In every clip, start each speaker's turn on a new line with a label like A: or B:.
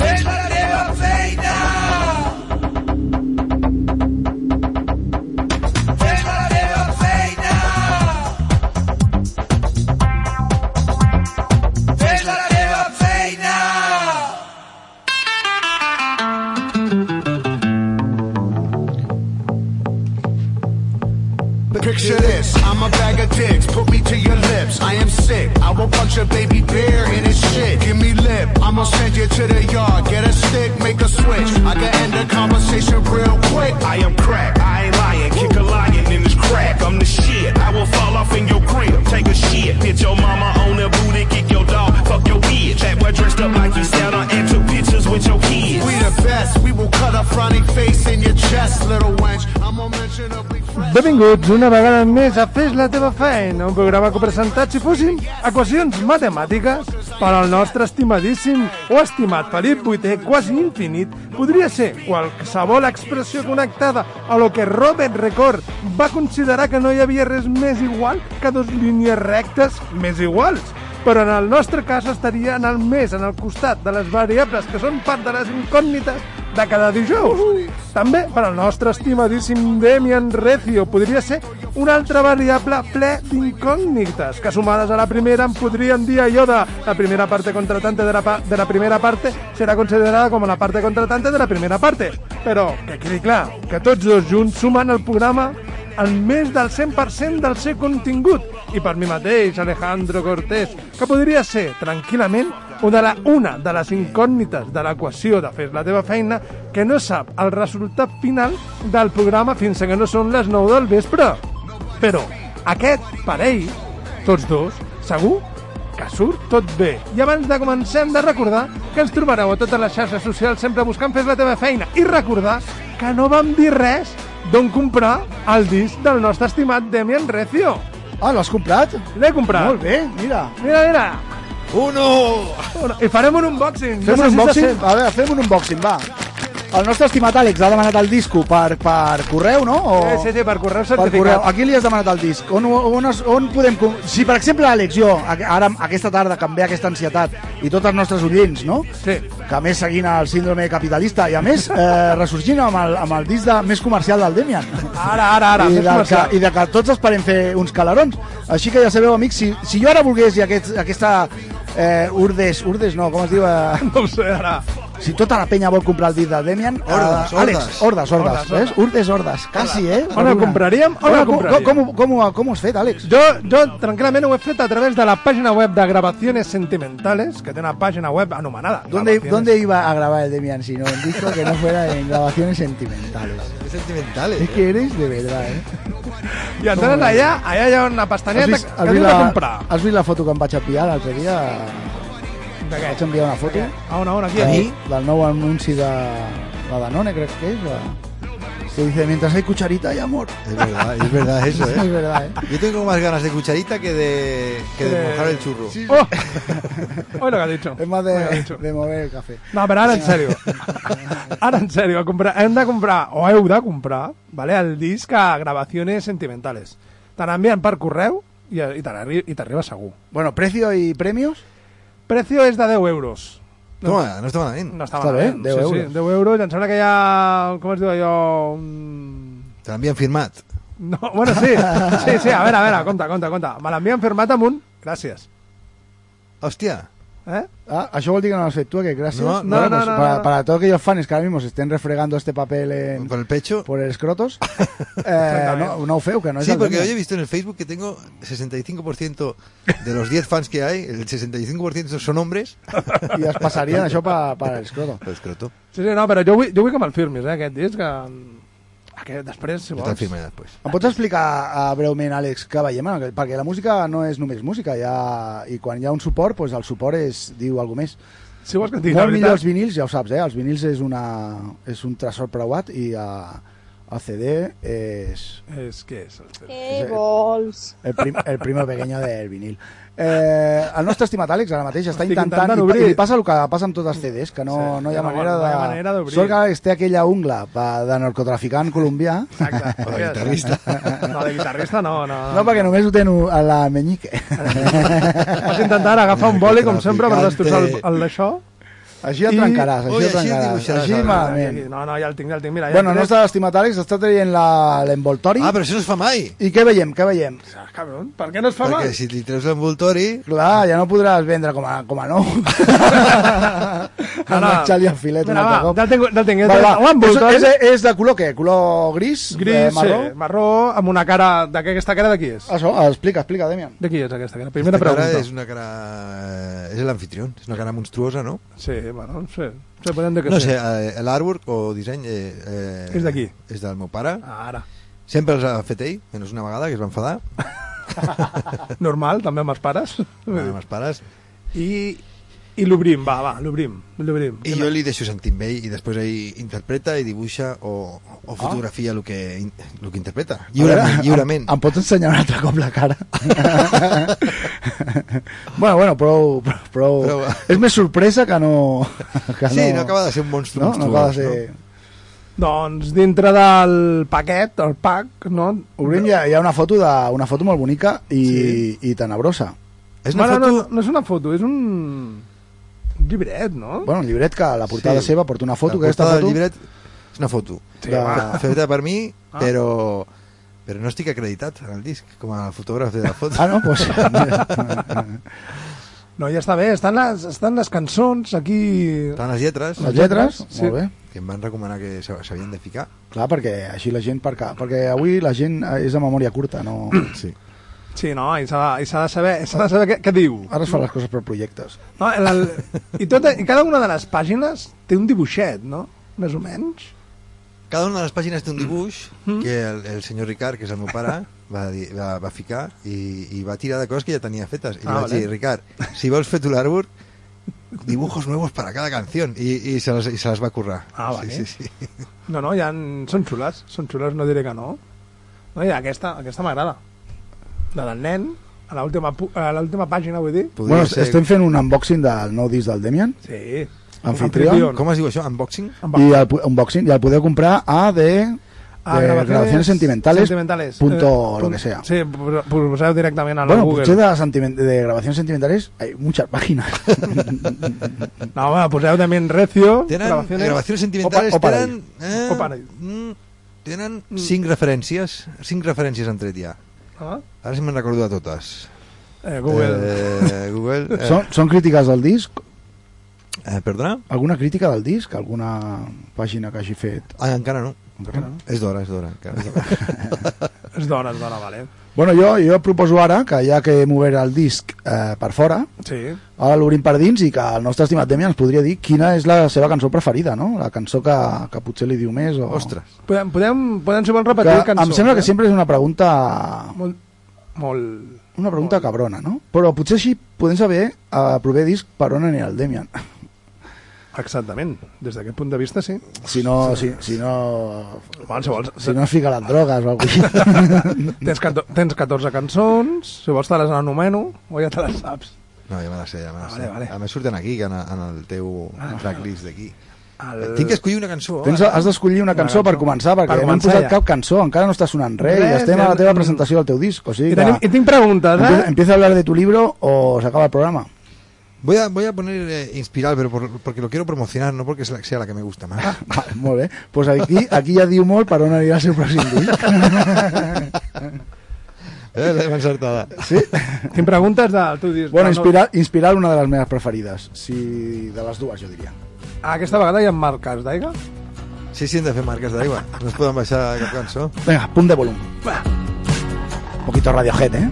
A: Fes la teva feina! Fes la teva feina! Fes la teva feina!
B: Picture this, I'm a bag of dicks, put me to your lips. I am sick, I will punch a baby bear in his shit. Give me lip, I'm gonna send you to the yard, get a stick, make a switch. I can end the conversation real quick. I am crack, I ain't lying, kick a lion in his crack. I'm the shit, I will fall off in your crib, take a shit. Hit your mama on the booty, kick your dog, fuck your bitch. That boy dressed up like you sound on and took pictures with your kids. We the best, we will cut a frowny face in your chest, little wench. I'm gonna mention a big friend.
C: Benvinguts una vegada més a Fes la teva feina, un programa que presentat si fossin equacions matemàtiques per al nostre estimadíssim o estimat Felip Vuitè, quasi infinit, podria ser qualsevol expressió connectada a lo que Robert Record va considerar que no hi havia res més igual que dos línies rectes més iguals. Però en el nostre cas estaria en el més en el costat de les variables que són part de les incògnites de cada dijous. També per al nostre estimadíssim Demian Recio podria ser una altra variable ple d'incògnites, que sumades a la primera en podrien dir allò de la primera parte contratante de la, pa de la primera parte serà considerada com la parte contratante de la primera parte. Però que quedi clar que tots dos junts sumen el programa al més del 100% del seu contingut. I per mi mateix, Alejandro Cortés, que podria ser tranquil·lament una de, la, una de les incògnites de l'equació de fer la teva feina que no sap el resultat final del programa fins a que no són les 9 del vespre. Però aquest parell, tots dos, segur que surt tot bé. I abans de començar hem de recordar que ens trobareu a totes les xarxes socials sempre buscant Fes la teva feina i recordar que no vam dir res d'on comprar el disc del nostre estimat Demian Recio.
D: Ah, l'has comprat?
C: L'he comprat.
D: Molt bé, mira.
C: Mira, mira.
A: Uno!
C: Bueno, I farem un unboxing.
D: Fem
C: No sé si
D: un
C: se
D: unboxing?
C: sent.
D: A veure, fem un unboxing, va. El nostre estimat Àlex ha demanat el disco per, per correu, no? O...
C: Sí, sí, sí, per correu
D: Per
C: certificat.
D: correu. A qui li has demanat el disc? On, on, es, on podem... com- Si, per exemple, Àlex, jo, a- ara, aquesta tarda, que em ve aquesta ansietat, i tots els nostres oients, no?
C: Sí.
D: Que a més seguint el síndrome capitalista i a més eh, ressorgint amb el, amb el disc de, més comercial del Demian.
C: Ara, ara, ara,
D: I,
C: fes
D: del que,
C: comercial.
D: I de que tots esperem fer uns calarons. Així que ja sabeu, amics, si, si jo ara volgués i aquest, aquesta eh, urdes, urdes no, com es diu... Eh,
C: No ho sé, ara.
D: si tota la penya vol comprar el disc de Demian... eh,
A: Ordes,
D: Àlex, ordes, ordes,
C: Ordes,
D: ves? Urdes, ordes, quasi, eh?
C: On el compraríem? On
D: Hola,
C: el
D: com-
C: compraríem?
D: Com, com, com, ho- com ho has fet, Àlex?
C: Jo, jo tranquil·lament ho he fet a través de la pàgina web de Gravaciones Sentimentales, que té una pàgina web anomenada.
D: ¿Dónde,
C: Grabaciones.
D: ¿Dónde iba a grabar el Demian si no dijo que no fuera en grabaciones sentimentales?
A: És sentimental,
D: Es que eres de verdad, ¿eh?
C: I entres allà, allà hi ha una
D: Has
C: pestanyeta
D: vist, has
C: que diu
D: vist
C: de
D: la,
C: comprar.
D: has vist la foto que em vaig enviar l'altre dia?
C: De què?
D: Vaig enviar una foto
C: A on, a on, aquí,
D: del,
C: aquí.
D: del nou anunci de la Danone, crec que és. la- Que dice, mientras hay cucharita hay amor.
A: Es verdad, es verdad eso,
D: Es
A: ¿eh?
D: verdad, ¿eh?
A: Yo tengo más ganas de cucharita que de, que de
C: Eh,
A: mojar el churro.
C: Oh! Oye lo que has dicho.
D: Es más
C: Oye lo que has
D: de,
C: dicho.
D: de mover el café.
C: No, però ara en sèrio. Ara en sèrio, a comprar, hem de comprar, o heu de comprar, vale, el disc a Gravaciones Sentimentales. Te l'envien per correu i, i te l'arri- i t'arriba segur.
D: Bueno, precio y premios.
C: Precio és de 10 euros.
A: Toma, no está mal ¿eh? bien.
C: No està,
D: Està
C: malament.
D: bé, 10
C: sí, Sí,
D: euros.
C: 10 euros. Em sembla que hi ha... Com es diu allò? Un...
A: También firmad.
C: No, bueno, sí. Sí, sí, a veure, a veure, compte, compte, compte. Me l'envien firmat amb un... Gràcies.
A: Hostia.
C: Eh?
D: Ah, això vol dir que no l'has fet tu, que gràcies. pues
A: No,
C: no, no, no,
D: para,
C: no.
D: para todos aquellos fans que ahora mismo se estén refregando este papel en,
A: Con el pecho.
D: por el escrotos. Eh, no, no ho feu, que no és
A: Sí,
D: el
A: porque
D: Demian.
A: hoy he visto en el Facebook que tengo 65% de los 10 fans que hay, el 65% son hombres.
D: I es passarien això per, per l'escroto.
A: Pues croto.
C: Sí, sí, no, però jo vull, jo vull que me'l firmis, eh, aquest disc. Que... Aquest, després, si
A: No
C: vols.
A: tan firme después.
D: Em pots explicar a, breument, Àlex, què veiem? en aquell- Perquè la música no és només música, hi ha, i quan hi ha un suport, doncs el suport és, diu alguna més.
C: Si vols que et digui la
D: Molt millor els
C: veritat.
D: vinils, ja ho saps, eh? Els vinils és, una, és un tresor preuat i a, ACD es
C: És que és el CD.
E: Què vols?
D: el, prim, el primo pequeño del vinil. Eh, el nostre estimat Àlex ara mateix està
C: Estic
D: intentant,
C: intentant
D: i, pa-
C: obrir.
D: i li passa el que passa amb tots els CDs, que no,
C: Sí,
D: no hi ha
C: no,
D: manera
C: no
D: de...
C: hi ha manera d'obrir.
D: Sort que Àlex té aquella ungla pa- de narcotraficant colombià,
C: Exacte.
F: O de guitarrista.
C: No, de guitarrista no, no.
D: no perquè només ho tenen a la menyique.
C: Vas intentar agafar un boli, com sempre, per destrossar el,
F: Traficante.
C: el d'això.
D: Així el
C: I-
D: trencaràs,
F: Ui,
D: així el
F: així el
D: trencaràs.
F: dibuixaràs,
D: Així
F: ara.
D: malament.
C: No, no, ja el tinc, ja el tinc. Mira, ja
D: Ah, Bueno,
C: el
D: el
C: tinc.
D: nostre estimat Àlex està traient la- l'envoltori.
F: Ah, però això no es fa mai.
D: I què veiem? Què veiem?
C: Ah, cabron, per què no es fa mal?
F: Perquè si li treus l'envoltori...
D: Clar, ja no podràs vendre com a, com a nou. Ara, xali a filet un
C: Mira,
D: altre
C: va,
D: cop.
C: ja el tinc, ja el tinc.
D: Va, va.
C: L'envoltori
D: És, és, és de color què? Color gris? eh,
C: gris,
D: marró?
C: marró. Sí, marró, amb una cara... D'aquesta cara de qui és?
D: Això, Ah, explica, explica, Demian.
C: De qui és aquesta cara? Primera
F: Aquesta cara
C: pregunta.
F: és una cara...
A: eh,
F: És l'anfitrión, és una cara monstruosa, no?
C: Sí, bueno, sí. Sí, podem dir que
F: No
C: sí.
F: sé, eh, l'artwork o disseny... Eh, eh,
C: És d'aquí.
F: És del meu pare.
C: Ara.
F: Sempre els ha fet ell, menys una vegada, que es va enfadar.
C: Normal, també amb els pares.
F: Bueno, amb els pares.
C: I, i l'obrim, va, va, l'obrim. L'obrim.
F: I jo li deixo sentint bé i després ell interpreta i dibuixa o, o fotografia el, que, in- el que interpreta. Lliurement,
D: Ah. A ah, veure,
F: lliurement.
D: Em, em pots ensenyar un altre cop la cara? bueno, bueno, prou, prou, prou.
F: Prou.
D: És més sorpresa que no... Que
F: Sí, no acaba de ser un monstru
D: No, no
F: monstruós,
D: acaba de ser...
F: no?
C: Doncs dintre del paquet, el pack, no?
D: Obrim, hi ha, hi ha una, foto de, una foto molt bonica i, i tenebrosa.
F: És una
C: Bueno,
F: foto...
C: no, no, no és una foto, és un llibret, no?
D: Bueno, el llibret que a la portada
F: Sí.
D: seva porta una foto,
F: la
D: que aquesta
F: portada del
D: foto...
F: llibret és una foto.
C: Sí,
D: de-
C: va.
F: Feta per mi,
C: Ah.
F: però, però no estic acreditat en el disc com a fotògraf de la foto.
D: Ah, no? Pues...
C: No, ja està bé, estan les, estan les cançons aquí...
F: Tant les lletres,
D: Les lletres,
C: Sí.
D: molt bé.
F: que em van recomanar que s'ha- s'havien de ficar.
D: Clar, perquè així la gent... Per ca... Perquè avui la gent eh, és de memòria curta, no...
F: Sí.
C: Sí, no, i s'ha i s'ha de saber, s'ha de saber què, què diu.
D: Ara es fan les coses per projectes.
C: No, el, el, i, tota, I cada una de les pàgines té un dibuixet, no? Més o menys.
F: Cada una de les pàgines té un dibuix que el, el senyor Ricard, que és el meu pare, va, dir, va, va ficar i, i va tirar de coses que ja tenia fetes. I
C: Ah,
F: ah, vaig
C: vale.
F: dir, Ricard, si vols fer tu l'artwork, dibujos nuevos para cada canción. I, i, se, les, i se les va currar.
C: Ah, vale.
F: Sí, sí, sí.
C: No, no, ja en, són xules, són xules, no diré que no. No, i aquesta, aquesta m'agrada. La del nen, a l'última pu- a l'última pàgina, vull dir.
F: Podria
D: bueno,
F: ser-
D: estem fent un unboxing del nou disc del Demian
C: Sí.
D: Anfitrión.
C: Anfitrión.
F: Com es diu això? Unboxing?
C: Em
D: i eh, el, pu- unboxing, i el podeu comprar a de...
C: Ah,
D: de
C: grabaciones
D: grabaciones sentimentales,
C: sentimentales.
D: punto
C: Eh,
D: lo
C: pun-
D: que sea.
C: Sí, pu- pu- poseu directament a la
D: Bueno,
C: Google.
D: potser de, sentiment- de grabaciones sentimentales hay muchas páginas.
C: No, home, poseu també en recio.
F: Tenen
C: grabaciones.
F: grabaciones, sentimentales,
D: o pa- o
F: tenen... Eh,
C: O parell.
F: mm, tenen cinc referències, cinc referències han tret ja.
C: Ah,
F: Ara sí me'n recordo de totes.
C: eh, Google.
F: Eh, Google. Eh,
D: són, són crítiques del disc?
F: eh, perdona?
D: Alguna crítica del disc? Alguna pàgina que hagi fet?
F: Ah, encara no. És d'hora, és d'hora. encara.
C: Es dona, es dona, vale.
D: Bueno, jo, jo proposo ara que ja que hem obert el disc eh, per fora,
C: Sí.
D: ara l'obrim per dins i que el nostre estimat Demi ens podria dir quina és la seva cançó preferida, no? La cançó que, que potser li diu més o...
F: Ostres.
C: Podem, podem, podem si vols
D: Que
C: repetir cançons.
D: em sembla que
C: eh?
D: sempre és una pregunta
C: Molt, molt...
D: una pregunta cabrona, no? Però potser així podem saber a proper disc per on anirà el Demian.
C: Exactament. Des d'aquest punt de vista, sí.
D: Si no, si, si no,
C: Bueno, si vols,
D: si no es fica les drogues o alguna cosa així.
C: Tens, cato- tens 14 cançons, si vols te les anomeno, o ja te les saps.
F: No, ja me la sé, ja me la sé.
C: Vale, vale.
F: A més surten aquí, que en, en el teu tracklist d'aquí. Eh,
C: El...
F: Tinc que escollir una cançó.
D: Tens, has d'escollir una cançó per començar, perquè
C: Per
D: no hem
C: començar
D: posat
C: ja.
D: cap cançó, encara no està sonant res,
C: Res,
D: i estem a
C: ja
D: la teva
C: no-
D: presentació del teu disc. O sigui
C: I,
D: que
C: tenim, I tinc preguntes,
D: empieza,
C: eh?
D: empieza a hablar de tu libro o se acaba el programa.
F: Voy a, voy a poner eh, Inspiral, pero por- porque lo quiero promocionar, no porque es la- sea la que me gusta más.
D: Vale, molt bé. Pues aquí, aquí ja diu molt per on anirà el seu pròxim disc.
F: Eh, l'hem encertada.
D: Sí?
C: Tinc preguntes del teu disc.
D: Bueno,
C: del nou-
D: inspirar, inspirar una de les meves preferides. Si de les dues, jo diria.
C: Ah, Aquesta vegada hi ha marques d'aigua.
F: Sí, sí, hem de fer marques d'aigua. No es poden baixar cap cançó.
D: Venga, punt de volum. Un poquito Radiohead, eh?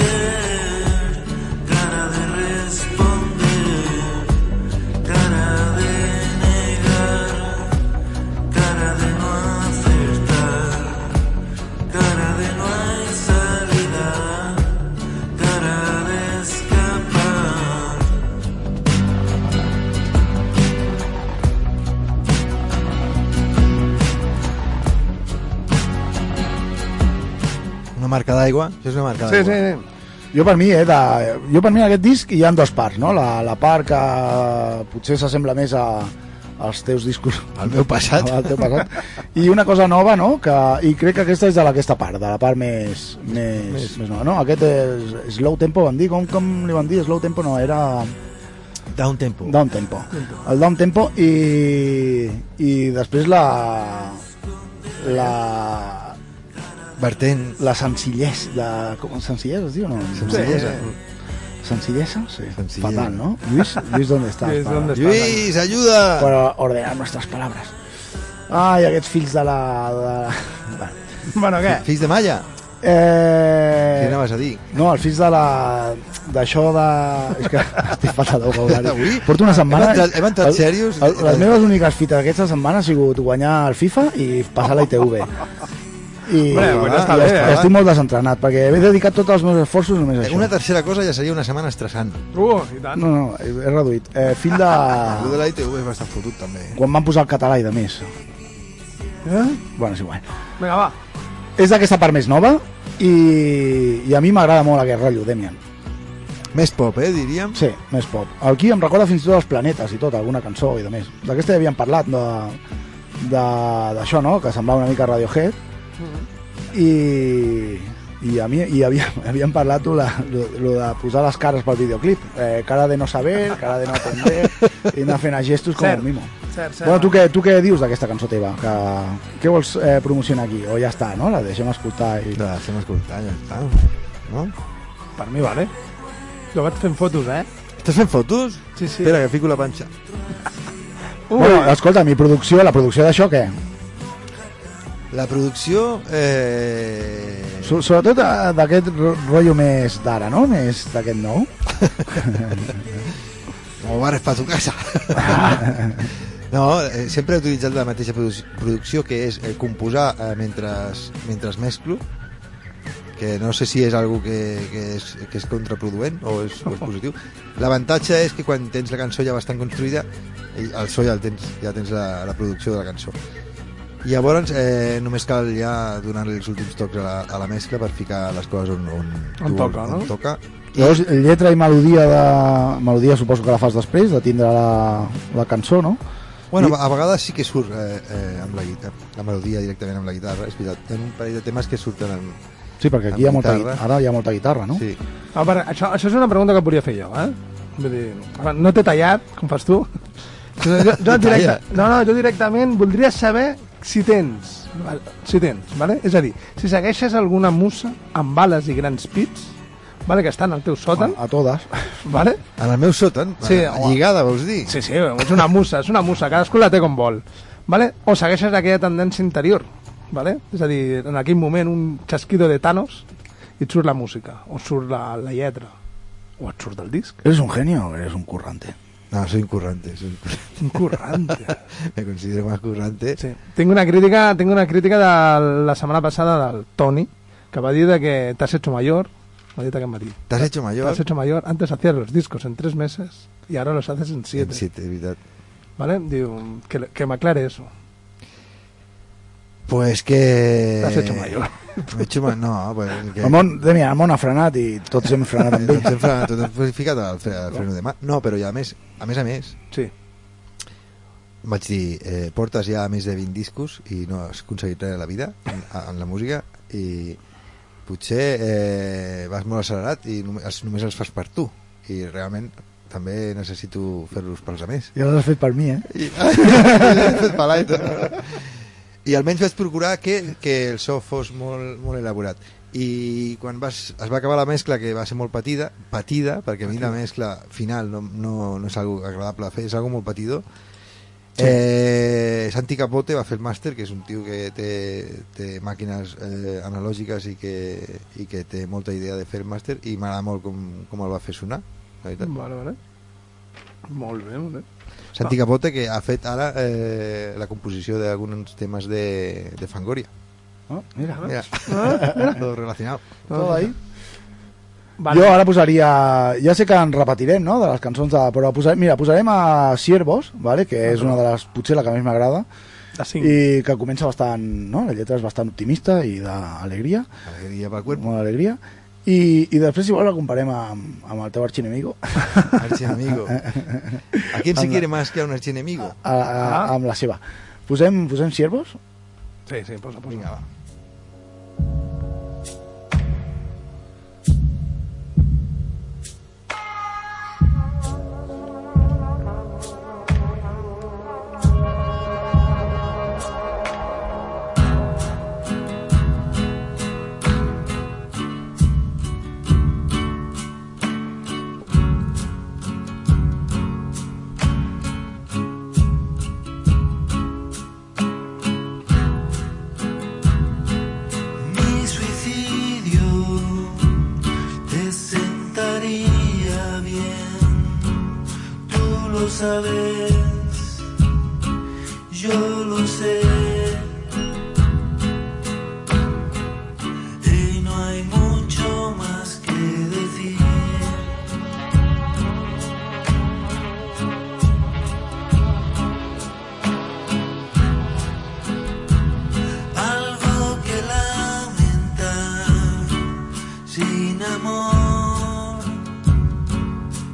G: esconder
A: marca d'aigua. Això és una marca
C: Sí,
A: d'aigua.
C: sí, sí.
D: Jo per mi, eh, de, jo per mi en aquest disc hi ha dues parts, no? La, la part que potser s'assembla més a, als teus discos
A: Al meu passat.
D: al teu passat. i una cosa nova no? que, i crec que aquesta és de aquesta part de la part més, més, més. més nova no? aquest és Slow Tempo van dir com, com li van dir? Slow Tempo no, era
A: Down tempo.
D: Down Tempo. El Down Tempo i, i després la la,
A: Vertent.
D: la senzillesa la, com, senzillesa es diu? No?
A: Senzillesa.
D: ¿Sencilleza? Sí.
A: Sencillez.
D: Fatal, ¿no? Luis, Luis ¿dónde estás?
C: Lluís,
D: para,
C: ¿dónde
A: Lluís, ajuda!
D: para ordenar nuestras palabras. Ai, aquests fills de la... De la... Bueno.
C: Bueno, què?
A: Fills de malla. Què
D: Eh...
A: anaves a dir?
D: No, els fills de la... d'això de... És que estic fatal de vocabulari.
A: Avui
D: Porto una setmana...
A: hem entrat- hem entrat
D: el-
A: serios.
D: el- Les meves úniques fites d'aquesta setmana ha sigut guanyar el FIFA i passar la ITV. I,
C: Bé, bueno, està
D: i
C: bé,
D: estic,
C: eh?
D: estic molt desentrenat, perquè he dedicat tots els meus esforços només a
A: Eh,
D: això.
A: Una tercera cosa ja seria una setmana estressant.
C: Uh, i tant.
D: No, no, he he reduït. Eh, fill de...
A: El de la ITV és bastant fotut, també.
D: Quan van posar el català i de més.
C: Eh?
D: Bueno, és igual.
C: Vinga, va.
D: És d'aquesta part més nova i, i a mi m'agrada molt aquest rotllo, Demian.
A: Més pop, eh, diríem.
D: Sí, més pop. Aquí em recorda fins i tot els planetes i tot, alguna cançó i de més. D'aquesta ja havíem parlat de de- d'això, no? Que semblava una mica Radiohead.
C: Mm-hmm.
D: I, i a mi i havia, havíem parlat lo, lo, lo de posar les cares pel videoclip. Eh, cara de no saber, cara de no aprender, i anar fent gestos com
C: Cert.
D: el mimo.
C: Cert, cert.
D: Bueno, tu què, tu què dius d'aquesta cançó teva? Que, què vols eh, promocionar aquí? O ja està, no? La deixem escoltar i...
A: La fem escoltar, ja està. No?
C: Per mi, vale. Jo vaig fent fotos, eh?
A: Estàs fent fotos?
C: Sí, sí.
A: Espera, que fico la panxa.
C: Ui,
D: Bueno, escolta, mi producció, la producció d'això què?
A: La producció... Eh...
D: So- Sobretot eh, d'aquest ro- rotllo més d'ara, no? Més d'aquest nou.
A: O bares pa tu casa. No, eh, sempre he utilitzat la mateixa produ- producció que és eh, composar eh, mentre, mentre mesclo que no sé si és algo que, que, és, que és contraproduent o és, o és positiu. L'avantatge és que quan tens la cançó ja bastant construïda, i el so ja el tens, ja tens la, la producció de la cançó. I llavors eh, només cal ja donar-li els últims tocs a la, a la mescla per ficar les coses on, on,
C: On
A: tu-
C: toca,
A: on
C: no?
A: toca.
D: Llavors, lletra i melodia de... Melodia suposo que la fas després de tindre la, la cançó, no?
A: Bueno,
D: I-
A: a vegades sí que surt eh, eh, amb la guitarra, la melodia directament amb la guitarra, és veritat. Hi ha un parell de temes que surten amb...
D: Sí, perquè aquí hi ha
A: Amb
D: molta,
A: guitarra.
D: gui- ara hi ha molta guitarra, no?
A: Sí.
C: A veure, això, això és una pregunta que et volia fer jo, eh? Vull dir, a veure, no t'he tallat, com fas tu. Jo, jo, jo directe, no, no, jo directament voldria saber si tens, val- si tens, vale? és a dir, si segueixes alguna musa amb bales i grans pits, vale, que estan al teu sòtan,
A: Ah,
D: A, a totes.
C: vale?
A: En el meu sòtan,
C: Sí,
A: eh,
C: home.
A: lligada, vols dir?
C: sí, sí, és una musa, és una musa, cadascú la té com vol, vale? o segueixes aquella tendència interior, vale? és a dir, en aquell moment un chasquido de Thanos i et surt la música, o et surt la, la lletra, o et surt del disc.
D: Eres un genio o eres un currante?
A: No, soy un currante, soy un currante.
C: Un currante.
A: me considero más currante.
C: Sí. Tinc una crítica, tinc una crítica de la setmana passada del Toni, que va dir de que t'has hecho mayor, m'ha dit aquest matí.
A: T'has hecho mayor?
C: T'has hecho mayor, antes hacías los discos en tres meses y ahora los haces en siete.
A: En siete, es veritat.
C: ¿Vale? Digo, que, le- que me aclare eso.
A: Pues que...
C: T'has hecho mayor.
A: M'he hecho mayor, no, pues... Que...
D: El món, Demian, el món ha frenat i tots hem frenat amb ell.
A: Ens hem frenat, tot hem ficat al fre- al freno de mà. No, però ja a més, a més a més,
C: Sí.
A: vaig dir, eh, portes ja més de 20 discos i no has aconseguit res a la vida en, en la música i potser eh, vas molt accelerat i només els, només els fas per tu i realment també necessito fer-los pels altres
D: Ja l'has fet per mi, eh?
A: i, Fet palai, no? I almenys vaig procurar que, que el so fos molt, molt elaborat i quan vas, es va acabar la mescla que va ser molt patida, patida perquè a mi la mescla final no, no, no és algo agradable a fer, és algo molt patidor Eh, Santi Capote va fer el màster, que és un tio que té, té màquines eh, analògiques i que, i que té molta idea de fer el màster i m'agrada molt com, com el va fer sonar la veritat.
C: Vale, vale. Molt bé, molt bé.
A: Santi Capote que ha fet ara eh, la composició d'alguns temes de, de Fangoria
D: Oh, mira,
A: mira,
D: Ah.
A: tot relacionat
D: tot ahí.
C: Vale.
D: Jo ara posaria... Ja sé que en repetirem, no?, de les cançons de... Però posarem, mira, posarem a Ciervos, vale? que és una de les... Potser la que més m'agrada,
C: De cinc.
D: i que comença bastant, no? la lletra és bastant optimista i d'alegria,
A: Alegria pel cuerpo.
D: molt alegria, i, i després si vols la comparem amb, amb el teu arxinemigo,
A: Archienemigo. ¿A quién se quiere más que a un archienemigo?
D: a, a,
C: Ah.
D: amb la seva. Posem, posem ciervos?
C: Sí, sí, posa, posa.
A: Vinga, va.
F: Mi suicidio te sentaría bien, tú lo sabes, yo lo sé. Y no hay mucho más que decir. algo que lamentar, sin amor,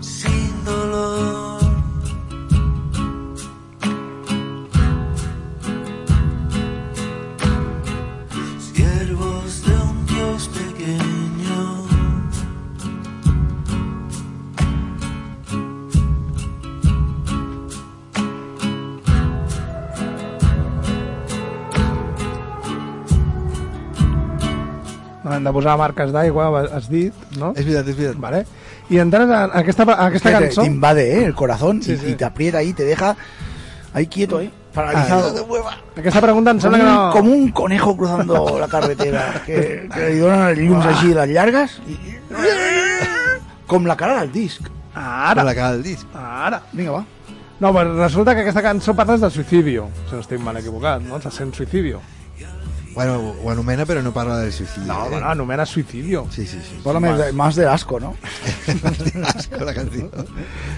F: sin dolor. Siervos de un Dios pequeño.
C: No hem de posar marques d'aigua, has dit, no?
A: És veritat, és veritat.
C: Vale. I entres en aquesta, en aquesta
D: Que te-
C: cançó...
D: Te invade eh, el corazón
C: Sí,
D: y,
C: sí.
D: y te aprieta ahí, te deja ahí quieto, ¿eh? paralizado de hueva.
C: Aquesta pregunta em
D: Como
C: sembla Ah, que no...
D: un, com un conejo cruzando la carretera, que, que li donen els llums així, les llargues, i... com la cara del disc. Ah,
A: Ara.
C: Ara,
A: La cara del disc.
C: ara.
D: Vinga, va.
C: No, però resulta que aquesta cançó parles de suïcidio, si no estic mal equivocat, no? Se sent suïcidio.
A: Bueno, ho anomena, però no parla del suïcidi.
C: No,
A: eh?
C: bueno, anomena suïcidio.
A: Sí, sí, sí.
D: Posa més, de- más de asco, no?
A: Asco, la canció.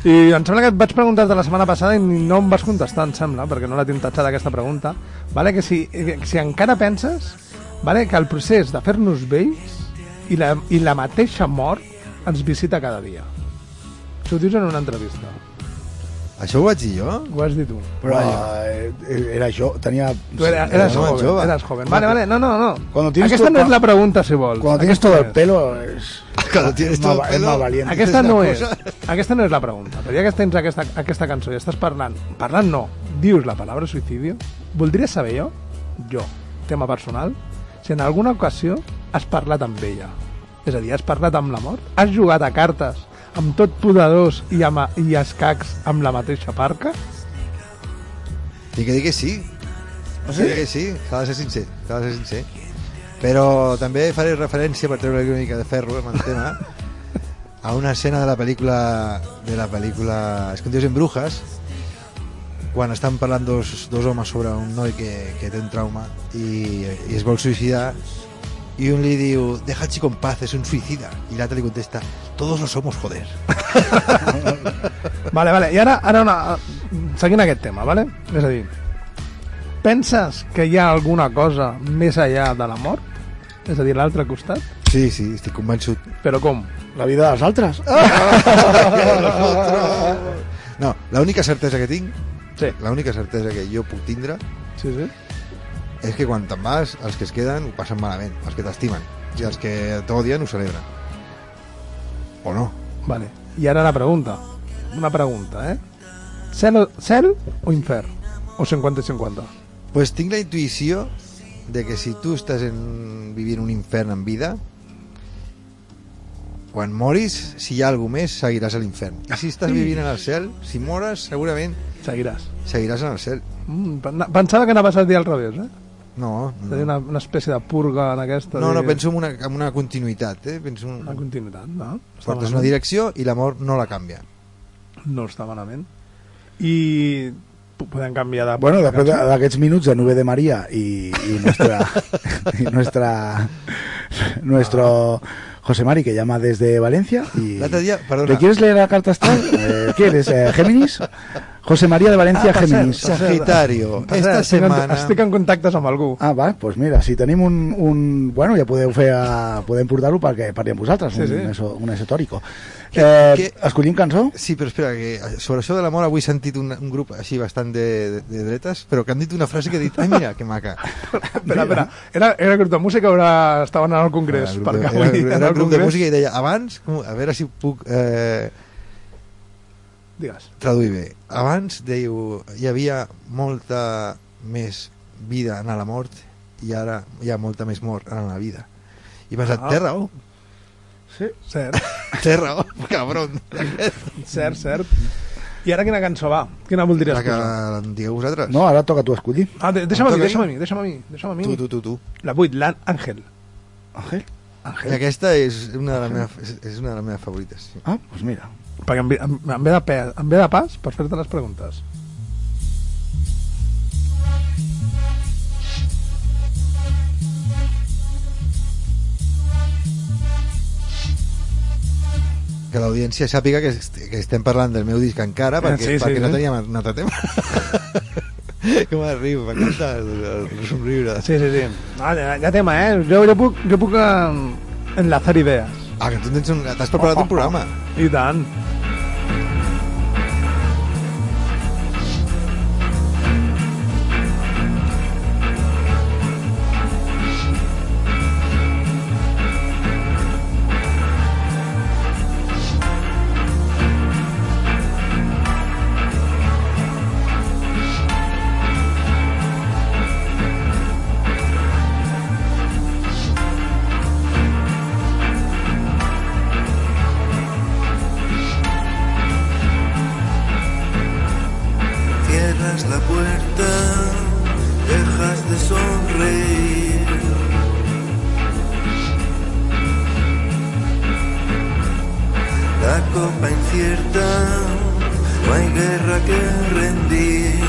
C: I em sembla que et vaig preguntar de la setmana passada i no em vas contestar, em sembla, perquè no la tinc tatxada aquesta pregunta, vale? que si, eh, que si encara penses vale? que el procés de fer-nos vells i la, i la mateixa mort ens visita cada dia. Això ho dius en una entrevista.
A: Això ho vaig dir jo?
C: Ho has dit tu.
D: Però eh, era jo, tenia...
C: Tu eras, eras
A: Era
C: joven,
A: jove.
C: eras joven. Vale, vale, no, no, no.
D: Cuando tienes
C: Aquesta
D: tu-
C: no és la pregunta, si vols.
D: Cuando tienes todo el pelo es,
A: Cuando tienes
D: es
A: todo
D: más,
A: el
D: es
A: pelo.
D: más valiente.
C: Aquesta no és,
A: cosa.
C: aquesta no és la pregunta, però ja que tens aquesta, aquesta cançó i estàs parlant, parlant no, dius la paraula suïcidio, voldria saber jo, jo, tema personal, si en alguna ocasió has parlat amb ella. És a dir, has parlat amb la mort? Has jugat a cartes amb tot podadors i, amb, i escacs amb la mateixa parca?
A: Tinc que dir que sí. Ah, Sí? Que sí, s'ha de ser sincer, s'ha de ser sincer. Però també faré referència per treure una mica de ferro eh, amb el tema a una escena de la pel·lícula de la pel·lícula Escondidos en Brujas quan estan parlant dos, dos homes sobre un noi que, que té un trauma i, i es vol suïcidar i un li diu deja al chico en paz, és un suïcida i l'altre li contesta todos lo somos, joder
C: Vale, vale. I ara, ara una, seguint aquest tema, vale? És a dir, penses que hi ha alguna cosa més enllà de la mort? És a dir, l'altre costat?
A: sí, sí, estic convençut
C: Però com?
D: La vida de les altres.
A: no, l'única certesa que tinc
C: Sí.
A: l'única certesa que jo puc tindre
C: Sí, sí.
A: és que quan te'n vas, els que es queden ho passen malament, els que t'estimen i els que t'odien ho celebren o no
C: Vale. I ara la pregunta. Una pregunta, eh? Cel, o- cel o infern? O 50 i 50?
A: pues tinc la intuïció de que si tu estàs en, vivint un infern en vida quan moris, si hi ha alguna més, seguiràs a l'infern. I si estàs vivint en el cel, si mores, segurament
C: Seguiràs.
A: seguiràs en el cel.
C: Mm, pen- pensava que anaves a dir al revés, eh?
A: No,
C: És a dir,
A: no,
C: una, una espècie de purga en aquesta...
A: no, no
C: de-
A: penso en una, en una continuïtat. Eh? Penso en...
C: Una continuïtat, no? Està
A: Portes una
C: malament.
A: direcció i l'amor no la canvia.
C: No està malament. I po- podem canviar de...
D: Bueno, després de- d'aquests minuts de Nube de María y, y nuestra, y nuestra nuestro José Mari que llama desde Valencia y
A: L'altre dia, perdona.
D: ¿le quieres leer la carta astral? Eh, ¿Qué eres? eh, Géminis? José María de Valencia
C: per cert,
D: Géminis.
C: per cert,
A: Sagitario,
C: per
A: esta
C: estic en-
A: setmana-
C: Estic en contactes amb algú.
D: Ah, va, doncs mira, si tenim un... un bueno, ja podeu fer... A, podem portar-ho perquè parli amb vosaltres,
C: Sí,
D: un,
C: sí.
D: Eso, un esotòrico. Eh,
A: que-
D: Escollim cançó?
A: Sí, però espera, que eh, sobre això de l'amor avui he sentit un, un grup així bastant de, de, de dretes, però que han dit una frase que he dit, ai mira, que maca.
C: Espera, espera. Era, era grup de música o era... estaven en el congrés?
A: Era Ah, el
C: Perquè
A: grup de-
C: avui
A: era, el grup-
C: en
A: era
C: el
A: el grup de
C: congrés-
A: música i deia, abans, com, a veure si puc eh,
C: Digues.
A: traduir bé, abans diu, hi havia molta més vida en la mort i ara hi ha molta més mort en la vida. I he pensat,
C: Ah.
A: té raó,
C: Sí. Cert,
A: té raó, cabron.
C: cert, cert. I ara quina cançó va? Quina voldries
A: La que
C: posar?
A: en digueu vosaltres.
D: No, ara toca tu escollir.
C: Ah, de, deixa'm a mi,
A: Em toca a mi?
C: deixa'm a mi, deixa'm a mi, deixa'm a mi.
A: Tu, tu, tu, tu.
C: La 8, l'Àngel.
D: Ángel?
A: I
C: Àngel.
A: aquesta és una de les meves, és una de les meves favorites. Sí.
D: Ah, doncs pues mira.
C: Perquè em, ve- em, em, ve de pe, em ve de pas per fer-te les preguntes.
A: Que l'audiència sàpiga que, est que estem parlant del meu disc encara, perquè,
C: Ah, Sí, sí,
A: perquè no
C: sí.
A: teníem un altre tema. Com arriba, m'encanta el, el somriure.
C: Sí, sí, sí. Ah, ja, ja tema, eh? Jo, jo puc, jo puc em, enlazar idees.
A: Ah, que tu tens un... t'has preparat un programa.
C: I tant.
F: Cierras la puerta, dejas de sonreír. La copa incierta, no hay guerra que rendir.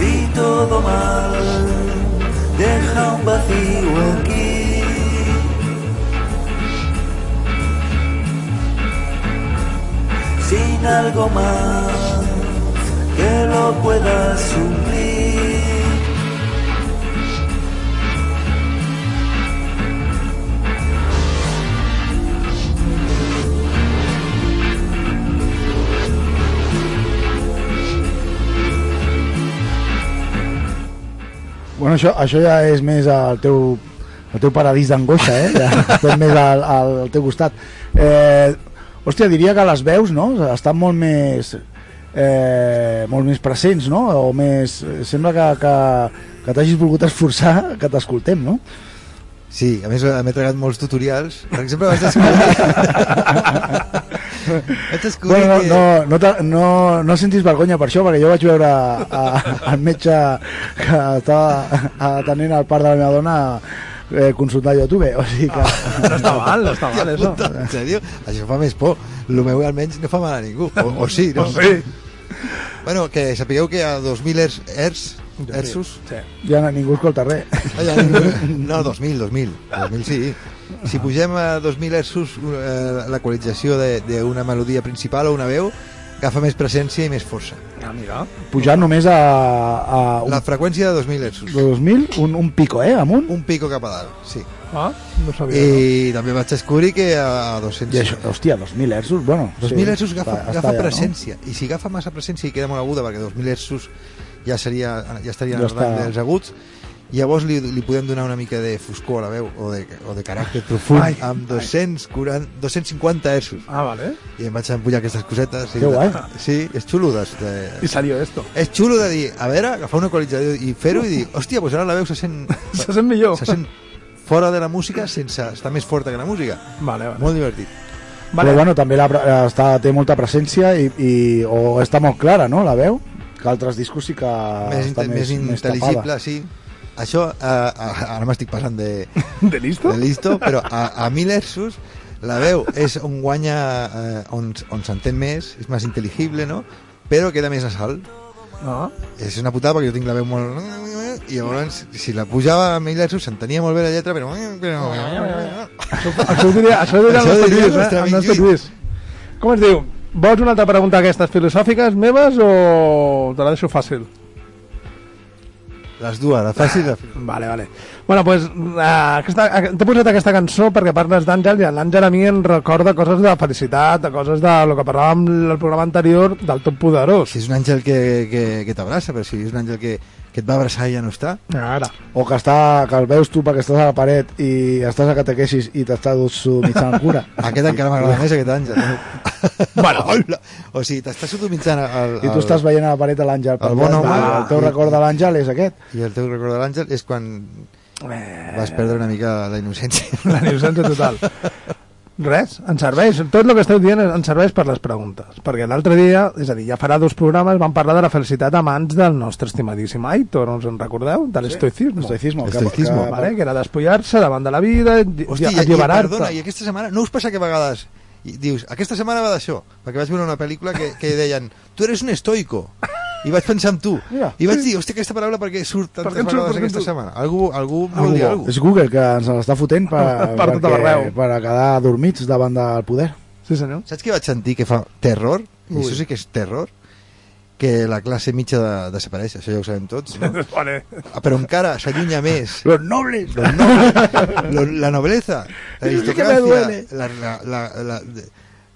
F: Y todo mal deja un vacío aquí. sin algo más que lo pueda suplir.
D: Bueno, això, això ja és més el teu, el teu paradís d'angoixa, eh? Ja estem més al, al, al teu costat. Eh, hòstia, diria que les veus, no? Estan molt més... Eh, molt més presents, no? O més... Sembla que, que, que t'hagis volgut esforçar que t'escoltem, no?
A: Sí, a més eh, m'he tragat molts tutorials. Per exemple, vaig descobrir... vaig descobrir
D: Bueno,
A: que...
D: no, no, no, te- no, no sentis vergonya per això, perquè jo vaig veure a, a, al metge que estava atenent el part de la meva dona eh, consultar YouTube, o sigui que...
C: No està mal, no està mal,
A: Hòstia
C: això.
A: puta, en sèrio? Això fa més por. El meu almenys no fa mal a ningú. O, o sí, no?
C: Pues sí.
A: Bueno, que sapigueu que a 2.000 hertz, hertz, hertzos,
C: Sí.
D: Ja no, ningú escolta res.
A: Ai, ai, No, 2000, 2000. 2000 sí. Si pugem a 2000 hertzos eh, l'equalització de- d'una melodia principal o una veu, agafa més presència i més força.
C: Ah, mira.
D: Pujar només a, a un,
A: La freqüència de 2000 hertzos.
D: 2000, un, un pico, eh, amunt.
A: Un pico cap a dalt, sí.
C: Ah, no sabia. I...
A: I també vaig descobrir que a 200...
D: I això, hòstia, 2.000 hertzos, bueno...
A: 2000 hertzos agafa,
D: està- està
A: agafa
D: allà,
A: presència. I si agafa massa presència i queda molt aguda, perquè 2000 hertzos ja, seria, ja estaria
D: Ja
A: en el rang
D: està.
A: dels aguts, llavors li, li podem donar una mica de foscor a la veu o de, o de caràcter profund
C: Ai,
A: ai, amb 240, 250 hertzos.
C: Ah, vale.
A: I em vaig empullar aquestes cosetes. i-
D: Que guai.
A: Sí, és xulo de... de
C: I salió esto.
A: és xulo de dir, a veure, agafar un equalitzador i fer-ho i dir, hòstia, doncs ara la veu se sent,
C: Se sent millor.
A: se sent fora de la música sense estar més forta que la música.
C: Vale, vale.
A: Molt divertit.
D: Vale. Però
C: vale.
D: bueno, també la, pre- està, té molta presència i, i, o està molt clara, no?, la veu, que altres discos sí que
A: més,
D: està
A: inte Ah, més, intel·ligible, sí. Això, eh, eh, ara m'estic passant de,
C: ¿De listo?
A: de listo, però a, a Millersus la veu és on guanya, eh, on, on s'entén més, és més intel·ligible, no? Però queda més nasal.
C: No?
A: És una putada perquè jo tinc la veu molt... I llavors, si la pujava amb ell s'entenia molt bé la lletra, però... però...
C: Això ho diria, això ho diria el
A: Això ho
C: nostre
A: diria
C: Lluís,
A: el
C: eh?
A: nostre
C: El
A: amic
C: nostre Lluís.
A: Lluís.
C: Com es diu? Vols una altra pregunta aquestes filosòfiques meves o te la deixo fàcil?
A: Les dues, la fàcil i la...
C: Vale, vale. Bueno, pues, uh, aquesta, a- t'he posat aquesta cançó perquè parles d'Àngel i l'Àngel a mi em recorda coses de felicitat, de coses de lo que parlàvem en el programa anterior del tot poderós.
A: Si és un àngel que, que, que t'abraça, però si és un àngel que, que et va abraçar i ja no està...
C: Ara.
D: O que, està, que el veus tu perquè estàs a la paret i estàs a catequesis i t'està mitjant el cura.
A: Aquest encara m'agrada més, aquest àngel.
C: Bueno.
A: Hola. o sigui, t'estàs sodomitzant el,
D: I tu estàs veient a la paret a l'Àngel. per
A: El bon
D: allà,
A: home.
D: El teu record de l'Àngel és aquest.
A: I el teu record de l'àngel és quan vas perdre una mica la innocència.
C: La innocència total. Res, ens serveix, tot el que esteu dient ens serveix per les preguntes, perquè l'altre dia, és a dir, ja farà dos programes, vam parlar de la felicitat a mans del nostre estimadíssim Aitor, us en recordeu? De l'estoicisme.
D: Estoicismo. que-
A: Estoicismo.
D: que-
C: Vale, que era despullar-se davant de la vida, alliberar-te.
A: Ah, Hòstia, i, i, perdona, i aquesta setmana... No us passa que a vegades i dius, aquesta setmana va d'això, perquè vaig veure una pel·lícula que, que deien, tu eres un estoico, i vaig pensar en tu.
D: Ja.
A: I vaig dir, hòstia, aquesta paraula perquè surt tantes
C: Per què em surt? Per què
A: vegades
C: em
A: aquesta
C: surt?
A: setmana. Algú, algú em vol
D: Google.
A: dir alguna
D: És Google que ens l'està fotent per,
C: Per
A: tota
C: tot arreu.
D: per a quedar dormits davant del poder.
C: Sí, senyor.
A: Saps què vaig sentir que fa terror? I això sí que és terror que la classe mitja de, desapareix, això ja ho sabem tots, no?
C: Vale.
A: Ah, però encara s'allunya més
D: Los nobles!
A: Lo noble, lo- la nobleza, la
D: Sí que
A: aristocracia,
D: me duele.
A: la, la, la, la,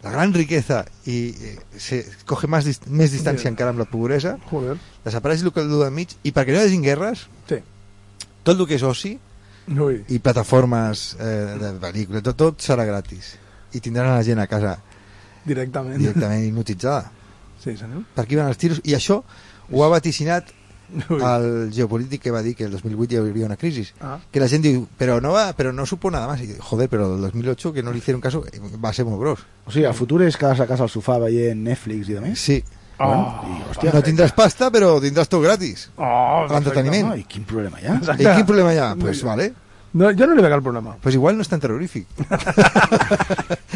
A: la gran riqueza i eh, se coge más, dis- més distància encara amb la pobresa,
C: Joder.
A: desapareix el que el de mig i perquè no hi hagin guerres,
C: Sí.
A: tot el que és oci
C: Ui.
A: i plataformes eh, de pel·lícules, tot, tot serà gratis i tindran la gent a casa
C: Directament.
A: directament hipnotitzada.
C: Sí, senyor.
A: Per aquí van els tiros i això ho ha vaticinat
C: Ui.
A: al geopolític que va dir que el 2008 hi hauria una crisi
C: Ah.
A: que la gente dice, pero no va, pero no supo nada más. Y, joder, pero el 2008 que no le hicieron caso eh, va a ser muy gros.
D: O sigui, el futur és quedar-se a casa al sofà veient Netflix i demés.
A: Sí.
C: Oh,
D: Hòstia,
A: Ah. no tindrás pasta, pero tendrás todo gratis.
C: oh,
A: L'entreteniment.
D: no, i quin problema hi ha?
A: ¿Y qué problema ya? Pues vale.
C: No, jo no li veig el problema.
A: Pues igual no es tan terrorífico.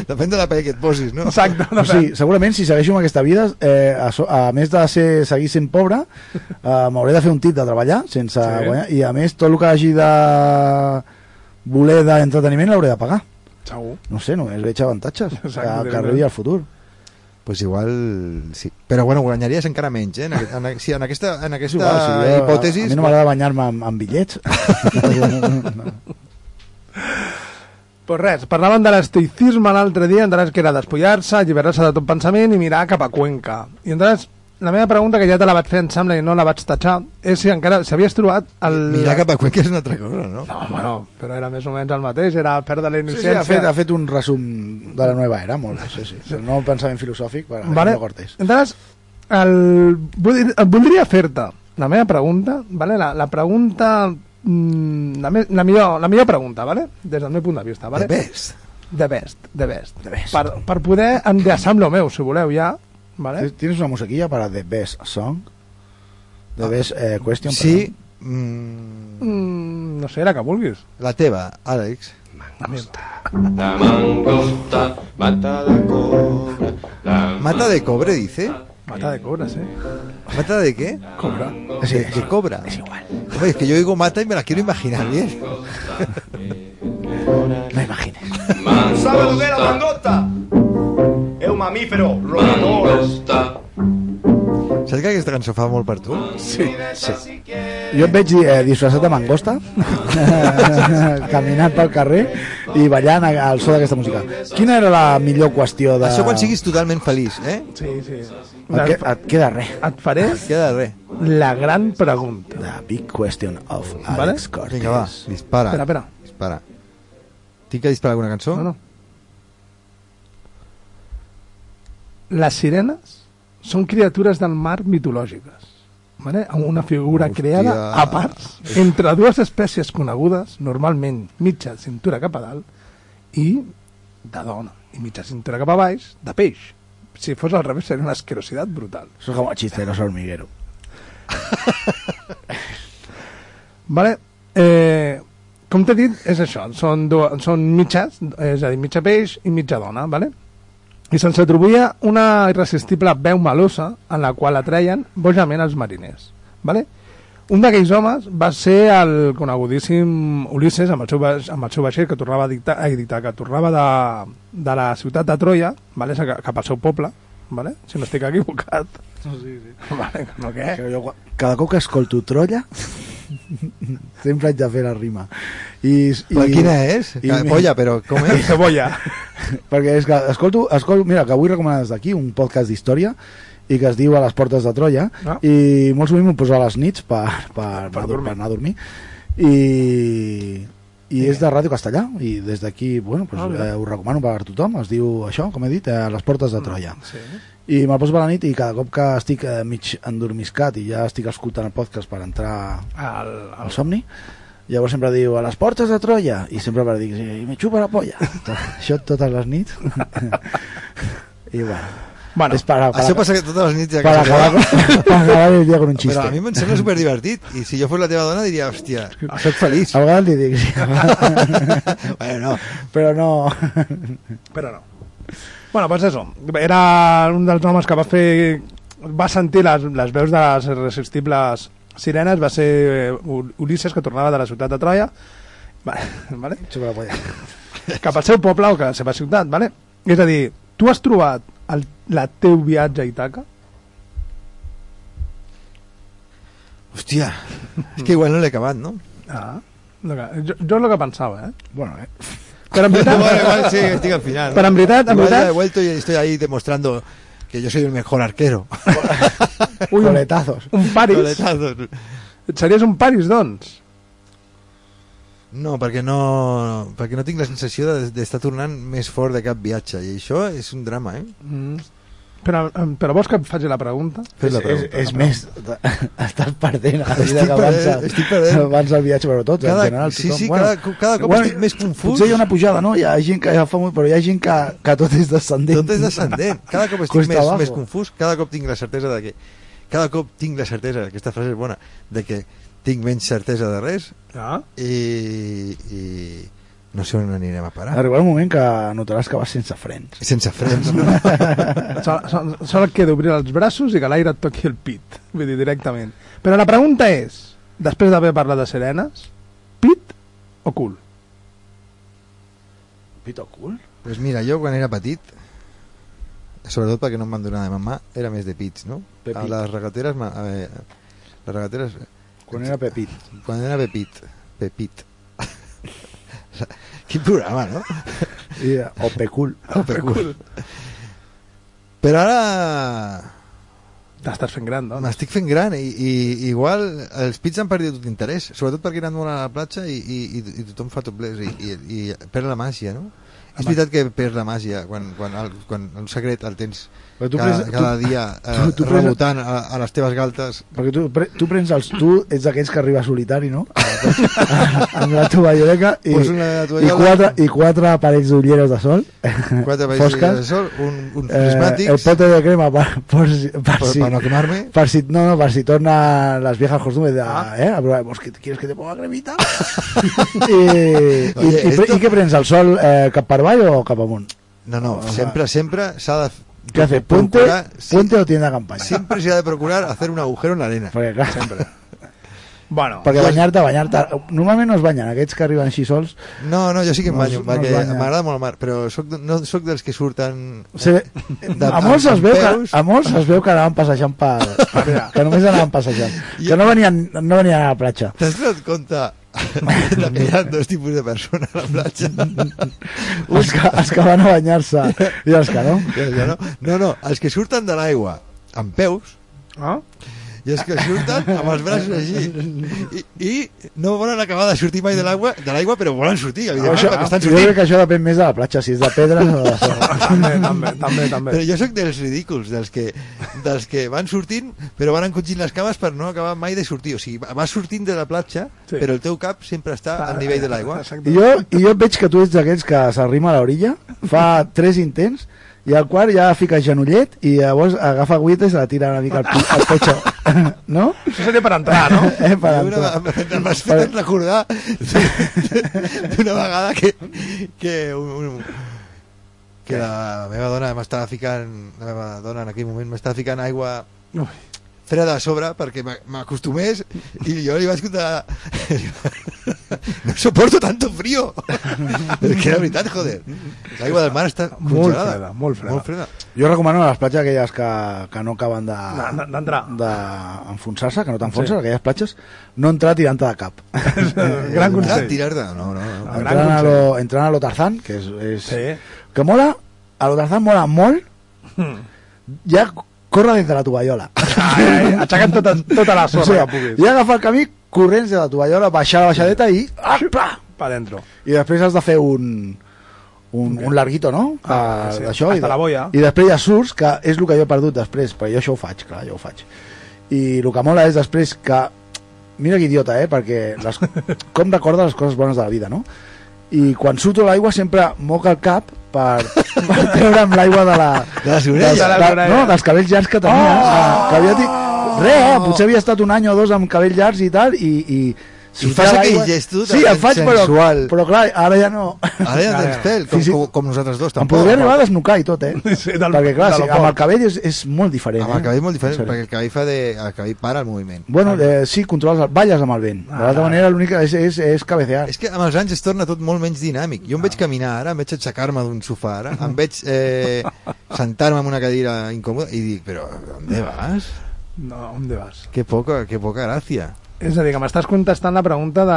A: Depende de la paella que et posis, no?
C: Exacte.
D: O
C: No,
D: sigui, segurament si segueixo amb aquesta vida eh, a, so, a més de ser, seguir sent pobre eh, m'hauré de fer un tit de treballar sense
C: Sí.
D: sí. guanyar i a més tot el que hagi de voler d'entreteniment l'hauré de pagar
C: Segur.
D: no sé, només veig avantatges que,
C: Exacte,
D: que arribi al futur
A: Pues igual sí. Però bueno, guanyaries encara menys, eh? En, aquest, en, a- sí, en aquesta, en aquesta
D: Igual, si jo-
A: hipòtesi...
D: a, a mi no m'agrada banyar-me amb, amb bitllets
C: Pues res, parlàvem de l'estoicisme l'altre dia, entraràs que era despullar-se, alliberar-se de tot pensament i mirar cap a Cuenca. I entraràs, la meva pregunta, que ja te la vaig fer en Samla i no la vaig tatxar, és si encara s'havies trobat el...
A: Mirar cap a Cuenca és una altra cosa, no?
C: No, bueno, però era més o menys el mateix, era perdre la
D: sí,
C: innocència.
D: sí, ha, fet, ha fet un resum de la nova era molt bé, sí, sí. El nou pensament filosòfic per
C: Vale.
D: vale. Cortés
C: Entonces, el, vull- em voldria fer-te la meva pregunta, vale? la, la pregunta... mm, La, me, la, millor, la millor pregunta, vale? des del meu punt de vista. Vale?
A: The best.
C: De best, de best. De best. Per, per poder enllaçar amb lo meu, si voleu, ja. Vale?
D: Tienes una musiquilla para The Best Song The Best eh, Question
A: Sí, mm,
C: Mm, no sé, la que vulguis.
A: la teva, Àlex.
C: La meva.
H: La mangosta mata la cobra. La
A: Mata de cobre, dice.
C: Mata de cobras, eh?
A: ¿Mata de qué?
C: Cobra.
A: Sí, de cobra. Es igual. es que yo digo mata y me la quiero imaginar bien.
I: Sabe lo que la mangosta? Es un mamífero roedor.
H: mangosta.
A: ¿Sabes que aquesta cançó fa molt per tu?
D: Jo et veig eh, disfressat de mangosta caminant pel carrer i ballant a- al so d'aquesta música quina era la millor qüestió de...
A: Això quan siguis totalment feliç, eh?
C: Sí, sí.
D: et, que, et queda res
C: Et faré
A: Queda res.
C: la gran pregunta.
D: The big question of Alex
C: Vale.
D: Cortés
A: Vinga, va, dispara.
C: Espera, espera.
A: Dispara. Tinc que disparar alguna cançó?
C: No, no. Les sirenes són criatures del mar mitològiques. Vale? Amb Una figura
A: Hòstia.
C: creada a parts entre dues espècies conegudes, normalment mitja cintura cap a dalt i de dona, i mitja cintura cap a baix, de peix. Si fos al revés seria una asquerositat brutal.
D: Eso es como chisteros hormiguero
C: Vale? Eh, com t'he dit, és això. Són, dues, són mitges, és a dir, mitja peix i mitja dona, vale? i se'ns atribuïa una irresistible veu melosa en la qual atreien bojament els mariners. Vale? Un d'aquells homes va ser el conegudíssim Ulisses amb el seu, vaix- amb el seu vaixell que tornava a dictar, a dictar que tornava de, de la ciutat de Troia vale? Sa- cap al seu poble, vale? si no estic equivocat. Sí, sí. Vale, no, què?
D: Que jo, cada cop que escolto Trolla sempre haig de fer la rima i, i
A: Però quina és?
D: i-
A: I... Polla, però com és?
C: Cebolla.
D: perquè és que escolto, escolto mira, que vull recomanar des d'aquí un podcast d'història i que es diu A les portes de Troia
C: Ah.
D: i molt sovint m'ho poso a les nits per, per, per,
C: dormir.
D: per anar a dormir i, i és de Ràdio Castellà i des d'aquí bueno, pues,
C: Ah, mira. Mm,
D: eh, ho recomano per tothom es diu això, com he dit, eh, A les portes de Troia
C: Sí.
D: i me'l poso per la nit i cada cop que estic eh, mig endormiscat i ja estic escoltant el podcast per entrar
C: El,
D: al
C: el...
D: somni llavors sempre diu a les portes de Troia i sempre per dir que sí, i me xupa la polla Tot- això totes les nits i bueno,
C: Bueno,
D: és per, per,
A: Això passa que totes les nits... ja
D: per,
A: que s'ha
D: acabar,
A: acabat.
D: per acabar el dia amb un
A: Però
D: xiste
A: a mi em sembla superdivertit. I si jo fos la teva dona diria, hòstia, soc feliç.
D: a vegades li dic sí,
A: bueno, no.
D: però no
C: però no. Bueno, doncs això. Era un dels homes que va fer... Va sentir les, les veus de les irresistibles sirenes. Va ser eh, Ul- Ulisses, que tornava de la ciutat de Troia. Vale, vale?
D: xupa la polla
C: Cap al seu poble o que la seva ciutat, vale? És a dir, tu has trobat el, la teu viatge a Itaca?
A: Hòstia, és que igual no l'he acabat, no?
C: Ah. No, que, jo, jo és el que pensava, eh?
D: bueno, eh?
C: Però en veritat...
A: Igual, igual sí, estic al final. ¿no?
C: Però en veritat, en
A: Igual ya
C: veritat-
A: he vuelto y estoy ahí demostrando que yo soy el mejor arquero.
C: Ui, un,
D: coletazos
C: un Paris.
A: Toletazos.
C: Series un Paris, doncs.
A: No, perquè no, perquè no tinc la sensació de- d'estar tornant més fort de cap viatge i això és un drama, eh?
C: Mm. Però, em- però vols que em faci la pregunta?
A: Fes la
D: és, és,
A: pregunta.
D: és més, estàs perdent a
A: Estic
D: mesura que avança,
A: perdent, estic perdent.
D: avança el viatge, però tots, en
A: Cada,
D: general.
A: sí,
D: tothom.
A: sí,
D: Bueno,
A: cada, cada cop
D: bueno,
A: estic més confús.
D: Potser hi ha una pujada, no? Hi ha gent que ja fa molt, però hi ha gent que, que tot és descendent.
A: Tot és descendent. Cada cop estic
D: Cuesta
A: més,
D: abajo.
A: més confús, cada cop tinc la certesa de que... Cada cop tinc la certesa, aquesta frase és bona, de que tinc menys certesa de res
C: Ah.
A: i, i no sé on anirem a parar.
D: Ah. Arribarà un moment que notaràs que vas sense frens.
A: Sense frens, no?
C: Sol, sol, sol que d'obrir els braços i que l'aire et toqui el pit, vull dir, directament. Però la pregunta és, després d'haver parlat de serenes, pit o cul?
D: Pito cul?
A: Pues mira, jo quan era petit, sobretot perquè no em van donar de mamà, era més de pits, no?
D: De
A: A
D: pit.
A: les regateres, ma- a veure, les regateres,
D: Quan era Pepit.
A: quan era Pepit, Pepit. Quin programa, no?
D: I, o Pecul.
A: El Pecul. Però ara
C: T'estàs fent gran, dona.
A: m'estic fent gran i, i igual els pits han perdut tot interès, sobretot perquè he anat molt a la platja i, i, i, i tothom fa toplers i, i, i perd la màgia, no? És veritat que perds la màgia quan, quan, el, quan un secret el tens
D: Però tu
A: cada,
D: prens- tu-
A: cada dia eh,
D: tu- tu prens-
A: rebotant a, a les teves galtes.
D: Perquè tu, pre, tu prens els... Tu ets d'aquells que arriba solitari, no? amb la tovalloleca i,
A: Pues Ah, doncs. una
D: i,
A: tovallola.
D: quatre, i quatre aparells d'ulleres de sol.
A: Quatre països
D: fosques.
A: de sol, un, un
D: Eh,
A: prismàtic,
D: el pote de crema per, per, si- per,
A: per,
D: si,
A: per no quemar-me.
D: per si, no, no, per si torna las viejas costumbres de,
C: Ah.
D: eh, a probar, pues, ¿qué- ¿quieres que te ponga cremita? I,
A: Oye,
D: i, i,
A: esto-
D: i què prens, el sol eh, cap per avall o cap amunt?
A: No, no, sempre, sempre s'ha de...
D: Què hace, puente,
A: procurar- sí,
D: puente o tienda de campaña?
A: Sempre s'ha de procurar hacer un agujero en la arena.
D: Perquè, clar, sempre.
C: Bueno,
D: perquè banyar-te, banyar-te... Normalment no es banyen, aquests que arriben així sols.
A: No, no, jo sí que em
D: No,
A: banyo,
D: no
A: perquè
D: es banya.
A: m'agrada molt el mar, però soc, de- no soc dels que surten... eh,
D: Se,
A: De-
D: a, molts es
A: amb
D: veu que,
A: peus.
D: a molts es veu que anaven passejant per... que només anaven passejant. Que no venien, no venien a la platja.
A: T'has donat compte que hi ha dos tipus de persones a la platja?
D: Els que, els que van a banyar-se i els que no.
A: Ja, ja no? no, no, els que surten de l'aigua amb peus
C: ah?
A: i els que surten amb els braços així i, i no volen acabar de sortir mai de l'aigua, de l'aigua, però volen sortir,
D: Però
A: evidentment,
D: això,
A: perquè Ah, estan
D: jo crec
A: sortint.
D: que això depèn més de la platja, si és de pedra o de sorra.
C: també, també, també, també.
A: Però jo sóc dels ridículs, dels que, dels que van sortint però van encongint les cames per no acabar mai de sortir. O sigui, vas sortint de la platja,
C: Sí.
A: sí. però el teu cap sempre està al nivell de l'aigua.
C: Exacte.
D: I jo, I jo veig que tu ets d'aquells que s'arrima a l'orilla, fa tres intents, i al quart ja fica genollet i llavors agafa agüita i se la tira una mica al, pi- al pecho. No?
C: Això seria per entrar, no?
D: Eh, per
A: Jo una,
D: entrar.
A: em- em- m'has fet recordar d'una vegada que, que un, un, que la meva dona m'estava ficant la meva dona en aquell moment m'estava ficant aigua
C: Ui.
A: freda a sobre perquè m'ac- m'acostumés i jo li vaig contar no soporto tanto frío és que la veritat, joder l'aigua del mar està
C: Molt
A: congelada.
C: freda, molt freda.
A: molt freda.
D: Jo recomano les platges aquelles que, que no acaben de...
C: Na- na- d'entrar.
D: d'enfonsar-se, que no t'enfonses,
C: Sí.
D: aquelles platges, no entrar tirant-te de cap.
C: Gran
A: Ah,
C: consell.
A: tirar-te, no, no, no.
C: gran
D: entrant, a
C: consell.
D: lo, entrant a lo Tarzán, que és, és
C: Sí.
D: que mola, a lo Tarzán mola molt,
C: Hmm.
D: ja corre des de la tovallola.
C: Ai, ai, aixecant tota, tota la
D: O
C: sorra que
D: sigui,
C: puguis.
D: ja agafar el camí corrents de la tovallola, baixar la baixadeta i... Ah, pla!
C: Pa dentro.
D: I després has de fer un... Un, un larguito, no?
C: Ah, sí.
D: D'això,
C: Hasta
D: i, de-
C: la boia.
D: I després ja surts, que és el que jo he perdut després, perquè jo això ho faig, clar, jo ho faig. I el que mola és després que... Mira que idiota, eh? Perquè les, com recorda les coses bones de la vida, no? I quan surto a l'aigua sempre moc el cap per, per treure'm l'aigua de la...
A: De les orelles.
D: dels-
C: De les orelles.
D: no, dels cabells llargs que tenia. Oh! Que havia, ti- res, eh?
C: Oh!
D: Potser havia estat un any o dos amb cabells llargs i tal, i... i
A: I fas
D: sortia
A: aquell
D: l'aigua-
A: gesto
D: Sí, el faig, però,
A: sensual.
D: però clar, ara ja no...
A: ara ja tens pèl com,
D: Sí, sí.
A: com, com nosaltres dos
D: Em
A: tampoc.
D: podria arribar a desnucar i tot, eh?
C: Sí, del-
D: perquè, clar,
C: de lo
D: sí, amb
C: poc.
D: el cabell és, és molt diferent.
A: amb el
D: eh?
A: cabell molt diferent
D: Sí.
A: perquè el cabell fa de... el cabell para el moviment
D: Bueno, eh, sí, controles, el, balles amb el vent. De
C: Ah.
D: l'altra manera, l'únic que és, és, és cabecear.
A: És que amb els anys es torna tot molt menys dinàmic. Jo em
C: Ah.
A: veig caminar ara, em veig aixecar-me d'un sofà ara, em veig eh, sentar-me en una cadira incòmoda i dic, però on
C: Ah.
A: vas?
C: No, on vas?
A: Que poca, que poca gràcia.
C: És a dir, que m'estàs contestant la pregunta de...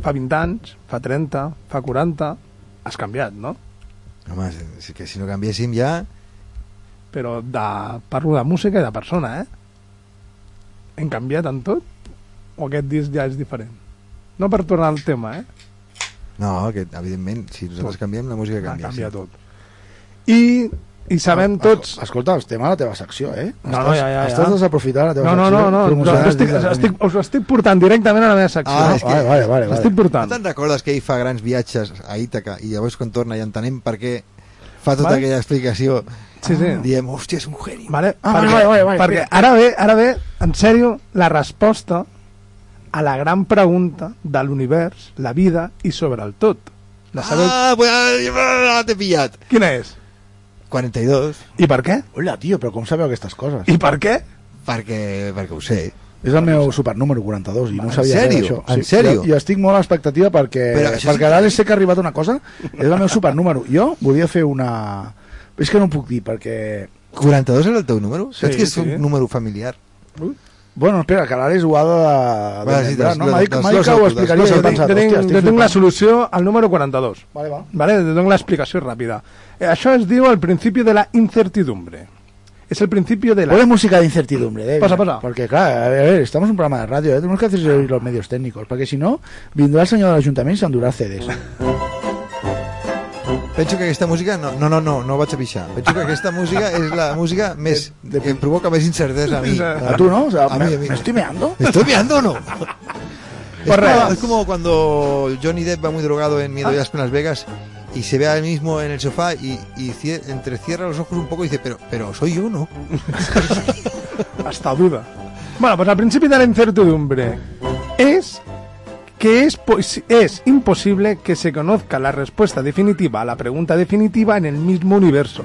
C: Fa 20 anys, fa 30, fa 40... Has canviat, no?
A: Home, és que si no canviéssim ja...
C: Però de... parlo de música i de persona, eh? Hem canviat en tot? O aquest disc ja és diferent? No per tornar al tema, eh?
A: No, que evidentment, si nosaltres canviem, la música
C: Ha
A: canvia.
C: canviat tot. I, i sabem
D: Ah,
C: tots...
D: Escolta, estem a la teva secció, eh?
C: No, no, ja, ja, ja.
D: Estàs desaprofitant la teva
C: No, no,
D: secció.
C: no, no, no,
D: promocionant
C: jo estic,
D: el disc de
C: estic, us ho estic portant directament a la meva secció.
A: Ah,
D: Toni.
A: és que-
D: Vale, vale, vale,
C: Us
D: vale.
C: estic
A: No
C: portant.
A: te'n recordes que ell fa grans viatges a Ítaca i llavors quan torna i entenem per què fa tota
C: Vale.
A: aquella explicació Ah,
C: Sí, sí.
A: diem, hòstia, és un geni.
C: Vale?
D: Ah,
C: perquè,
D: vale, vale, vale,
C: perquè
D: mira.
C: ara ve, ara ve, en sèrio, la resposta a la gran pregunta de l'univers, la vida i sobre el tot. La sabeu
A: Ah, pues, ah, t'he pillat.
C: quina és?
A: 42,
C: I per què?
D: Hola, tio, però com sabeu aquestes coses?
C: I per què?
A: perquè, perquè ho sé.
D: És el meu supernúmero 42 i no ho sabia
A: sèrio?
D: res d'això.
A: En sèrio?
D: Jo, jo estic molt a l'expectativa perquè,
A: Però això
D: perquè
A: sí-
D: ara sé que ha arribat una cosa. És el meu supernúmero. Jo volia fer una... És que no ho puc dir perquè...
A: 42 era el teu número?
C: Sí,
A: Saps que és
C: sí.
A: un número familiar?
D: Bueno, espera, que l'Àlex ho ha de... de
A: Va, sí,
D: membrar, no?
A: des-
D: M'ha dit, m'ha
A: des-
D: dit que
A: desglossa-ho,
D: ho explicaria i
A: desglossa-ho.
D: he pensat,
C: jo tinc,
D: hòstia, estic
C: jo tinc la
D: flipant.
C: solució al número 42.
D: Vale, va.
C: Vale, te doy la explicación rápida. Eh, Això es diu el principio de la incertidumbre. Es el principio de la...
D: Ponle música de incertidumbre, David.
C: Pasa, pasa.
D: Porque, claro, a ver, a ver, estamos en un programa de radio, ¿eh? tenemos que hacerse oír los medios técnicos, porque si no, vendrá el señor del ayuntamiento y se endurá CDs.
A: Penso que aquesta música... No, no, no, no, no vaig a pixar. Penso que aquesta música és la música més...
D: Eh, De- de-
A: que em provoca més incertesa a mi.
D: A tú, ¿no? O sea,
A: A
D: me,
A: mí, a mí.
D: me estoy Pues meando.
A: ¿Estoy mirando o no? Es
C: Pues
A: como,
C: real.
A: es como cuando Johnny Depp va muy drogado en Miedo y Asco en Las Vegas y se ve a él mismo en el sofá y, y cie- entrecierra los ojos un poco y dice, pero, pero soy yo, ¿no?
C: Hasta duda. Bueno, pues al principio de la incertidumbre es que es, posi- es imposible que se conozca la respuesta definitiva a la pregunta definitiva en el mismo universo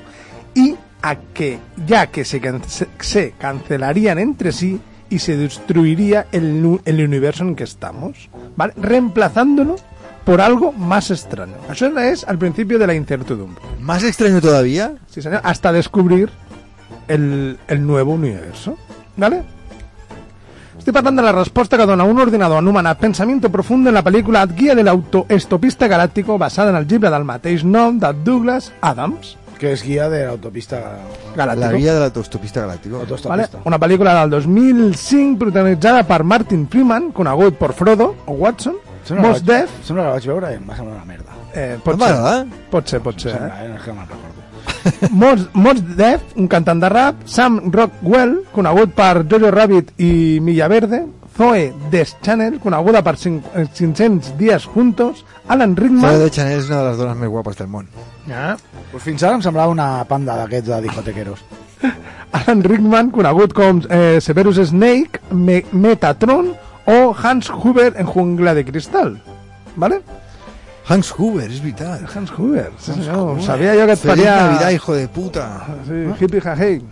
C: y a que ya que se, can- se- se cancelarían entre sí y se destruiría el, nu- el universo en que estamos, ¿vale? Reemplazándolo por algo más extraño. Eso es al principio de la incertidumbre.
A: Más extraño todavía,
C: Sí, señor. Hasta descubrir el, el nuevo universo. ¿Vale? Estoy pasando la respuesta que dona un ordenador anomenat Pensamiento Profundo en la película Guia de l'autoestopista galàctico basada en el llibre del mateix nom de Douglas Adams.
D: Que es guía de la autopista.
C: Galàctico.
A: la guía del autostopista galáctico.
C: Vale?
D: autostopista.
C: Una pel·lícula del 2005 protagonitzada per Martin Freeman, conegut per Frodo o Watson,
D: Sembla que
C: Mos
D: la vaig-
C: Def...
D: Sembla que la vaig veure i em va semblar una merda.
C: Eh, pot,
A: Em va agradar.
C: ser, pot ser, pot ser. Eh?
D: Sembla, eh? No és que me'n recordo.
C: Mons, Mons Def, un cantant de rap, Sam Rockwell, conegut per Jojo Rabbit i Milla Verde, Zoe Deschanel, coneguda per cinc- eh, 500 dies juntos, Alan
A: Zoe
C: Rickman...
A: de Chanel és una de les dones més guapes del món.
C: Ah.
D: Pues fins ara em semblava una panda d'aquests de discotequeros.
C: Alan Rickman, conegut com eh, Severus Snake, Me Metatron o Hans Huber en Jungla de Cristal. ¿Vale?
A: Hans Huber, és veritat.
C: Hans Huber, sí senyor. Sabia jo que et
A: Feliz Navidad,
C: faria...
A: hijo de puta.
C: Sí, hippie jajei.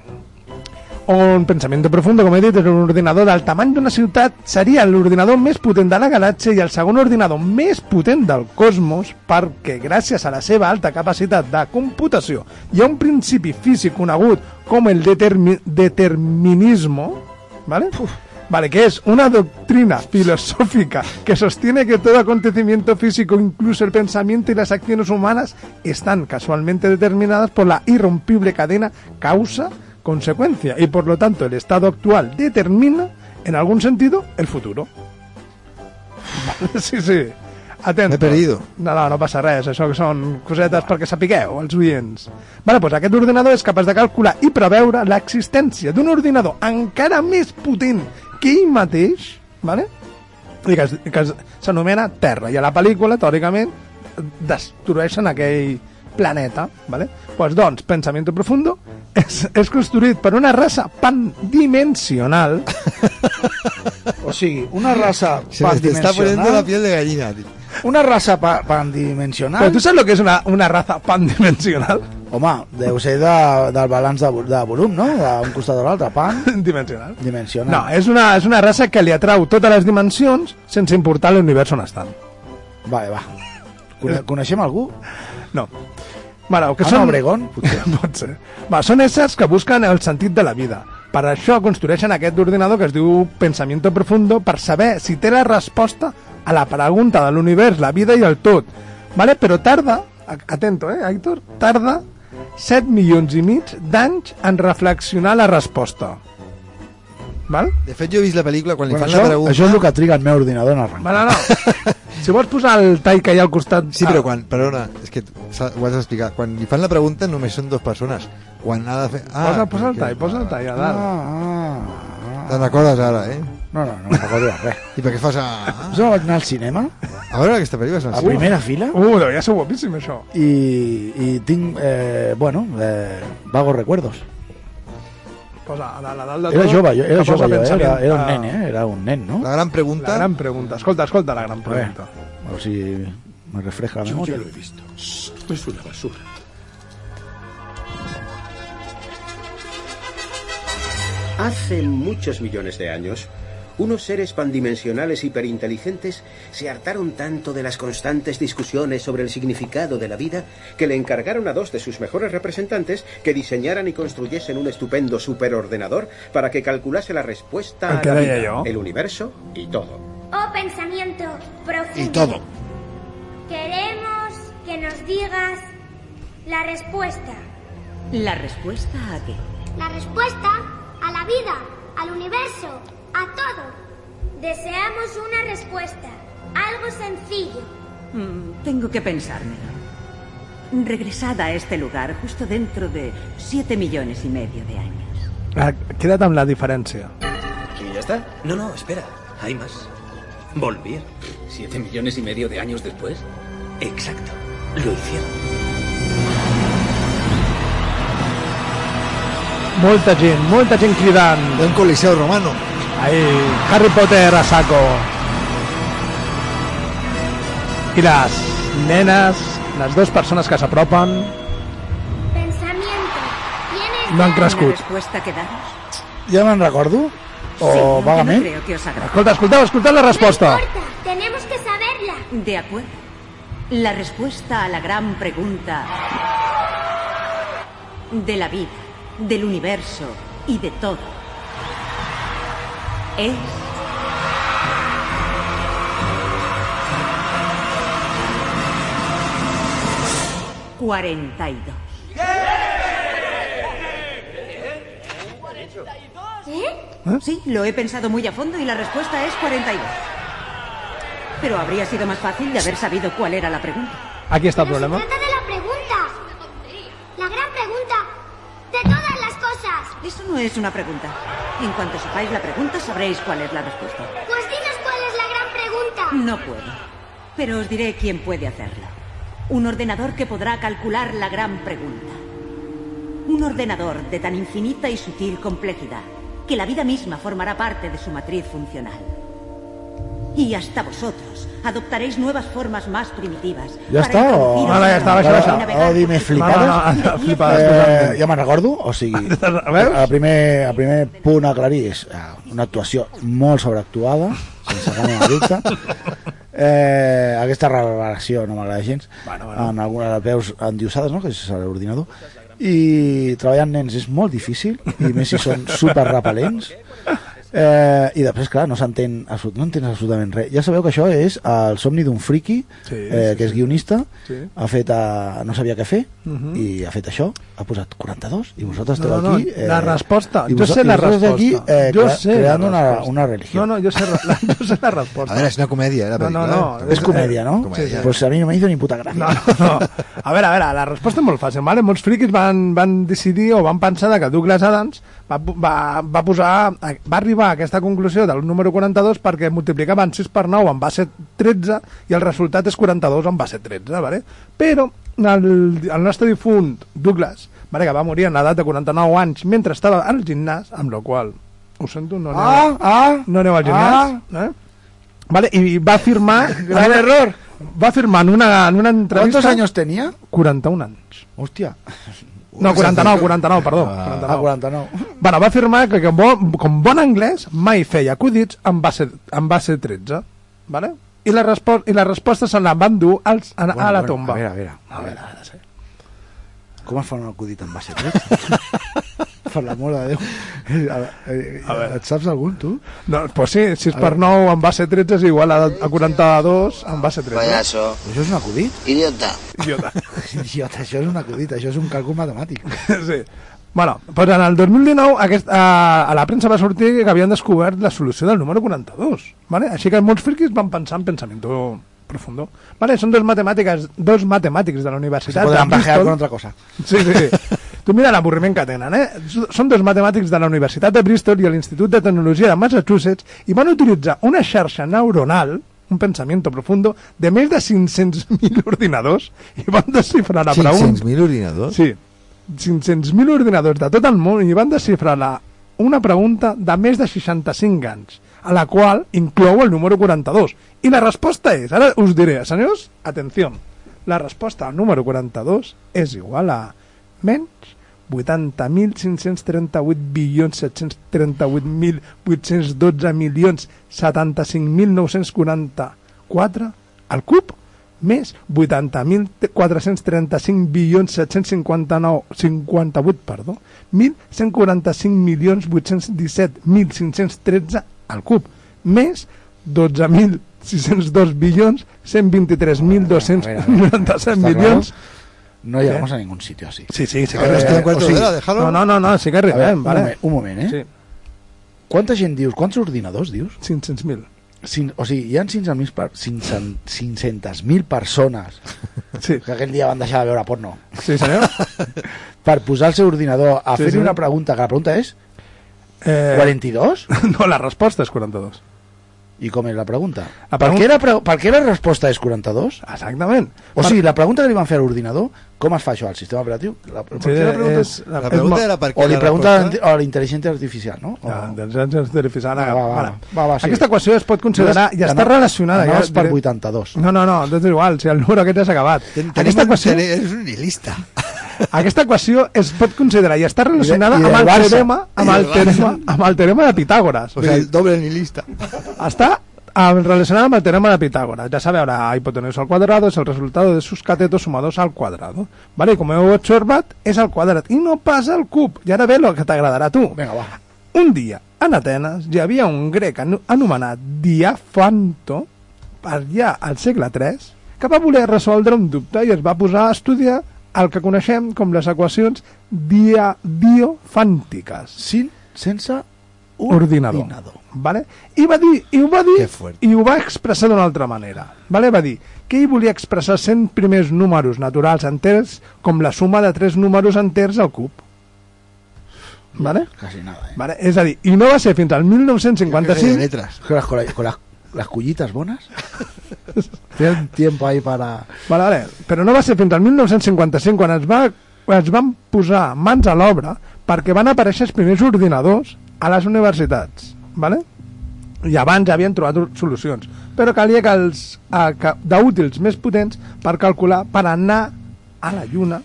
C: Un pensament profund, com he dit, és un ordinador del tamany d'una ciutat seria l'ordinador més potent de la galàxia i el segon ordinador més potent del cosmos perquè, gràcies a la seva alta capacitat de computació i a un principi físic conegut com el determi determinismo, ¿vale? Vale, que es una doctrina filosófica que sostiene que todo acontecimiento físico, incluso el pensamiento y las acciones humanas, están casualmente determinadas por la irrompible cadena causa-consecuencia y por lo tanto el estado actual determina, en algún sentido, el futuro. Vale, sí, sí. Atento.
A: M'he perdido.
C: No, no, no passa res, això que són cosetes perquè sapigueu, els oients. Vale, doncs aquest ordinador és capaç de calcular i preveure l'existència d'un ordinador encara més potent que ell mateix, vale? i que, es- que es- s'anomena Terra. I a la pel·lícula, teòricament, destrueixen aquell planeta. Vale? Pues, doncs, Pensamiento Profundo és, és construït per una raça pandimensional
D: O sigui, una raça
A: Se me te está poniendo la
D: pandimensional...
A: piel de gallina, tio.
D: Una raça pa
A: Ah.
C: Però
D: pandimensional...
C: tu saps el que és una, una raza pandimensional?
D: Home, deu ser de, del balanç de, vo- de volum, no? D'un costat a l'altre, pan...
C: Dimensional.
D: Dimensional.
C: No, és una, és una raça que li atrau totes les dimensions sense importar l'univers on estan.
D: Vale, va. Cone coneixem algú?
C: No. Bueno, que
D: Ana
C: són...
D: Ah, Obregón, potser.
C: Pot ser. Va, són éssers que busquen el sentit de la vida. Per això construeixen aquest ordinador que es diu Pensamiento Profundo per saber si té la resposta a la pregunta de l'univers, la vida i el tot. Vale? Però tarda, a- atento, eh, Aitor, tarda 7 milions i mig d'anys en reflexionar la resposta. Val?
A: De fet, jo he vist la pel·lícula quan li
D: Bueno,
A: fan la
D: això,
A: pregunta.
D: això és el que triga el meu ordinador en arrencar.
C: Va, no, no. si vols posar el tall que hi ha al costat...
A: Sí, però
C: Ah,
A: quan, perdona, és que s'ha- ho has d'explicar. Quan li fan la pregunta només són dues persones. Quan ha de fer...
C: Posa, posa el
A: perquè-
C: tall, posa el tall a dalt.
D: Ah, ah,
A: Te'n recordes ara, eh?
D: ah. No, no, no em recordo de res.
A: I per què fas... A,
D: Jo vaig anar al cinema,
A: a veure aquesta pel·lícula és
D: a
A: una sèrie.
D: primera fila,
C: Uh, devia ser guapíssim, això.
D: i, i tinc, eh, bueno, eh, vagos recuerdos.
C: Posa a la, a la dalt de
D: Era
C: tot,
D: jove, jo, era
C: que posa
D: jove, jo, eh? era,
C: pensament.
D: era un
C: Ah,
D: nen, eh? Era un nen, no?
A: La gran
C: La
A: pregunta...
C: gran pregunta. Escolta, escolta la gran pregunta.
D: O sigui, me refresca la memoria.
J: Hace muchos millones de años, unos seres pandimensionales hiperinteligentes se hartaron tanto de las constantes discusiones sobre el significado de la vida que le encargaron a dos de sus mejores representantes que diseñaran y construyesen un estupendo superordenador para que calculase la respuesta a
C: ¿Qué
J: la
C: haría
J: vida,
C: yo?
J: el universo y todo.
K: Oh pensamiento profundo.
A: Y todo.
K: Queremos que nos digas la respuesta.
L: ¿La respuesta a qué?
K: La respuesta a la vida, al universo, a todo. Deseamos una respuesta. Algo sencillo.
L: Mm, tengo que pensármelo. Regresad a este lugar justo dentro de siete millones y medio de años.
C: Ah, Queda't amb la diferència.
J: ¿Y ya está?
F: No, no, espera. Hay más. Volvieron. Siete millones y medio de años después. Exacto. Lo hicieron.
C: Molta gent, molta gent cridant.
A: D'un coliseu romano.
C: Ahí, Harry Potter a saco. I les nenes, les dues persones que s'apropen,
K: Pensamiento. ¿Tienes
C: no han
K: ya-
L: ¿La
C: crescut.
L: respuesta que daros?
D: Ja me'n recordo? O
L: Sí, aunque no
D: vagament?
L: creo que os agrade.
C: Escolta, escolteu, escolteu la resposta.
K: No importa. Tenemos que saberla.
L: De acuerdo. La respuesta a la gran pregunta de la vida, del universo y de todo es cuarenta y dos.
K: ¿Eh?
L: Sí, lo he pensado muy a fondo y la respuesta es 42. Pero habría sido más fácil de haber sabido cuál era la pregunta.
C: Aquí està el
K: Pero se
C: problema.
K: trata de la pregunta. La gran pregunta de todas las cosas.
L: Eso no es una pregunta. En cuanto sepáis la pregunta, sabréis cuál es la respuesta.
K: Pues dinos cuál es la gran pregunta.
L: No puedo. Pero os diré quién puede hacerlo. Un ordenador que podrá calcular la gran pregunta. Un ordenador de tan infinita y sutil complejidad que la vida misma formará parte de su matriz funcional. Y hasta vosotros adoptaréis nuevas formas más primitivas.
D: Ja
L: para
D: està? O...
L: introduciros
C: Ara ja està, baixa,
D: Ara,
C: baixa.
D: Ara, oh, dime, flipades.
C: No, no, no, flipades, totalment.
D: eh, ja me'n recordo, o sigui, el primer, el primer punt a aclarir és eh, una actuació molt sobreactuada, sense cap mena de dubte. Eh, aquesta revelació no m'agrada gens bueno, bueno. en alguna de les veus endiosades no? que és a l'ordinador i treballar amb nens és molt difícil i més si són super repel·lents eh, i després clar no s'entén absolut- no entens absolutament res ja sabeu que això és el somni d'un friki
C: Sí,
D: eh,
C: sí,
D: que és
C: sí.
D: guionista
C: Sí.
D: ha fet a, no sabia què fer
C: Mhm.
D: i ha fet això, ha posat 42 i vosaltres
C: No,
D: esteu
C: no,
D: aquí... eh,
C: la resposta.
D: i
C: Jo
D: vosa-
C: sé
D: i
C: la
D: vosaltres
C: resposta.
D: aquí eh,
C: Jo
D: crea-
C: sé la
D: creant una,
C: resposta.
D: una religió.
C: No, eh, no, yo sé, la, yo sé la respuesta.
A: A ver, es una comedia, eh, la
C: No,
A: película. Eh,
C: no, no.
D: És comèdia, no?
A: Comèdia.
D: Sí, sí. Pues a mi no me hizo ni puta gràcia.
C: No, A veure, a veure, la resposta és molt fàcil, vale? molts friquis van, van decidir o van pensar de que Douglas Adams va, po- va, va, posar, va arribar a aquesta conclusió del número 42 perquè multiplicaven 6 per 9 en base 13 i el resultat és 42 en base 13, vale? però el, el nostre difunt Douglas, vale, que va morir en l'edat de 49 anys mentre estava al gimnàs, amb la qual ho sento, no aneu,
D: ah,
C: no aneu al gimnàs, eh? Vale, i va firmar... Gran error! Va firmar en una, en una entrevista...
D: ¿Cuántos años tenía?
C: 41 anys.
D: Hòstia.
C: No, 49, 49, perdó.
D: Ah,
C: 49.
D: 49.
C: Bueno, va afirmar que com bon, com bon anglès mai feia acudits en base, en base 13. Vale? I, la respo I la resposta se la van dur als, a, a la tomba.
D: A veure, a veure.
C: a veure, a veure, sí.
D: Com es fa un acudit en base 3? per l'amor de Déu. A,
C: eh,
D: a, a, et saps algun, tu?
C: No, pues sí, 6 per 9 en base 13 és igual a, a 42 en base 13.
M: Payaso,
D: Això és un acudit?
M: idiota.
C: Idiota.
D: Idiota, això és un acudit, això és un càlcul matemàtic.
C: sí. Bueno, doncs en el 2019 aquest, a, a la premsa va sortir que havien descobert la solució del número 42. Vale? Així que molts friquis van pensar en pensament profundo. Vale? Són dos matemàtiques, dos matemàtics de la
D: Se
C: universitat.
D: podran
C: de
D: bajar
C: Bristol.
D: con otra cosa.
C: Sí, sí, sí. Tu mira l'avorriment que tenen, eh? Són dos matemàtics de la Universitat de Bristol i l'Institut de Tecnologia de Massachusetts i van utilitzar una xarxa neuronal un pensamiento profundo de més de 500.000 ordinadors i van desxifrar la pregunta
A: 500.000 ordinadors?
C: Sí. 500.000 ordinadors de tot el món i van desxifrar la, una pregunta de més de 65 anys, a la qual inclou el número 42. I la resposta és, ara us diré, senyors, atenció, la resposta al número 42 és igual a menys 80.538 bilions 738.812 milions 75.944 al cub més 80.435 bilions 759 58, perdó, 1.145 milions 817.513 al cub, més 12.602 bilions 123.297
D: Està
C: milions
D: claro? No llegamos a ningún sitio así.
C: Sí, sí, sí que
D: Eh,
C: arribem.
D: o sigui-
C: No, no, no, no, sí que
D: A veure,
C: arribem,
D: un
C: vale.
D: moment, un moment, eh?
C: Sí.
D: Quanta gent dius? Quants ordinadors dius?
C: 500.000.
D: Cin, o sigui, hi ha 500.000 per, 500 500.000 persones
C: sí.
D: que aquell dia van deixar de veure porno
C: Sí, senyor.
D: per posar el seu ordinador a
C: Sí,
D: fer-li
C: senyor.
D: una pregunta, que la pregunta és
C: Eh,
D: 42?
C: No, la resposta és 42.
D: I com és la pregunta?
C: La
D: Per,
C: pregun-
D: què la pre per què la resposta és 42?
C: Exactament.
D: O sigui, la pregunta que li van fer a l'ordinador, com es fa això al sistema operatiu? La, per
C: Sí, eh,
D: què la pregunta
C: és- la-
D: és
C: La pregunta
D: mo-
C: era per què
D: O li
C: la
D: pregunta a
C: resposta?
D: la- a la intel·ligència artificial, no? O...
C: Ah, intel·ligència artificial.
D: Va,
C: Ara,
D: va, va.
C: ara.
D: Va, va, sí.
C: Aquesta equació es pot considerar i està
D: Anar-
C: relacionada.
D: anaves
C: ja
D: per
C: diré-
D: 82.
C: No, no, no, doncs igual, si el número aquest ja s'ha acabat. Aquesta equació,
A: Es un nihilista.
C: aquesta equació es pot considerar i està relacionada
A: I de- i
C: amb
A: del
C: el
A: Barça.
C: teorema, amb
A: I
C: el
A: del Barça.
C: teorema, amb el teorema de Pitàgores.
A: O sea, el doble nihilista.
C: Està ah, relacionada amb el teorema de Pitágoras. Ya sabe, ahora hipotenusa al cuadrado es el resultado de sus catetos sumados al cuadrado. Vale, y como he observat, és al quadrat i no passa al cub. I ara ve el que t'agradarà a tu.
D: Vinga, va.
C: Un dia, en Atenes, hi havia un grec anu- anomenat Diafanto, allà al segle III, que va voler resoldre un dubte i es va posar a estudiar el que coneixem com les equacions dia, diofàntiques.
D: Sin, sense
C: ordinador. Vale? I va dir, i ho va dir,
A: Que fuerte.
C: i ho va expressar d'una altra manera. Vale? Va dir que ell volia expressar 100 primers números naturals enters com la suma de 3 números enters al cub. Vale?
D: Casi nada, eh?
C: Vale? És a dir, i no va ser fins al
A: de
C: 1955
A: letras.
D: Con las, con la- con las, las cullitas bonas. Tienen tiempo ahí para...
C: Vale, vale. Però no va ser fins al 1955 quan es, va, es van posar mans a l'obra perquè van aparèixer els primers ordinadors a les universitats. Vale? I abans ja havien trobat solucions. però calia que els eh, que, d'útils més potents per calcular, per anar a la Lluna,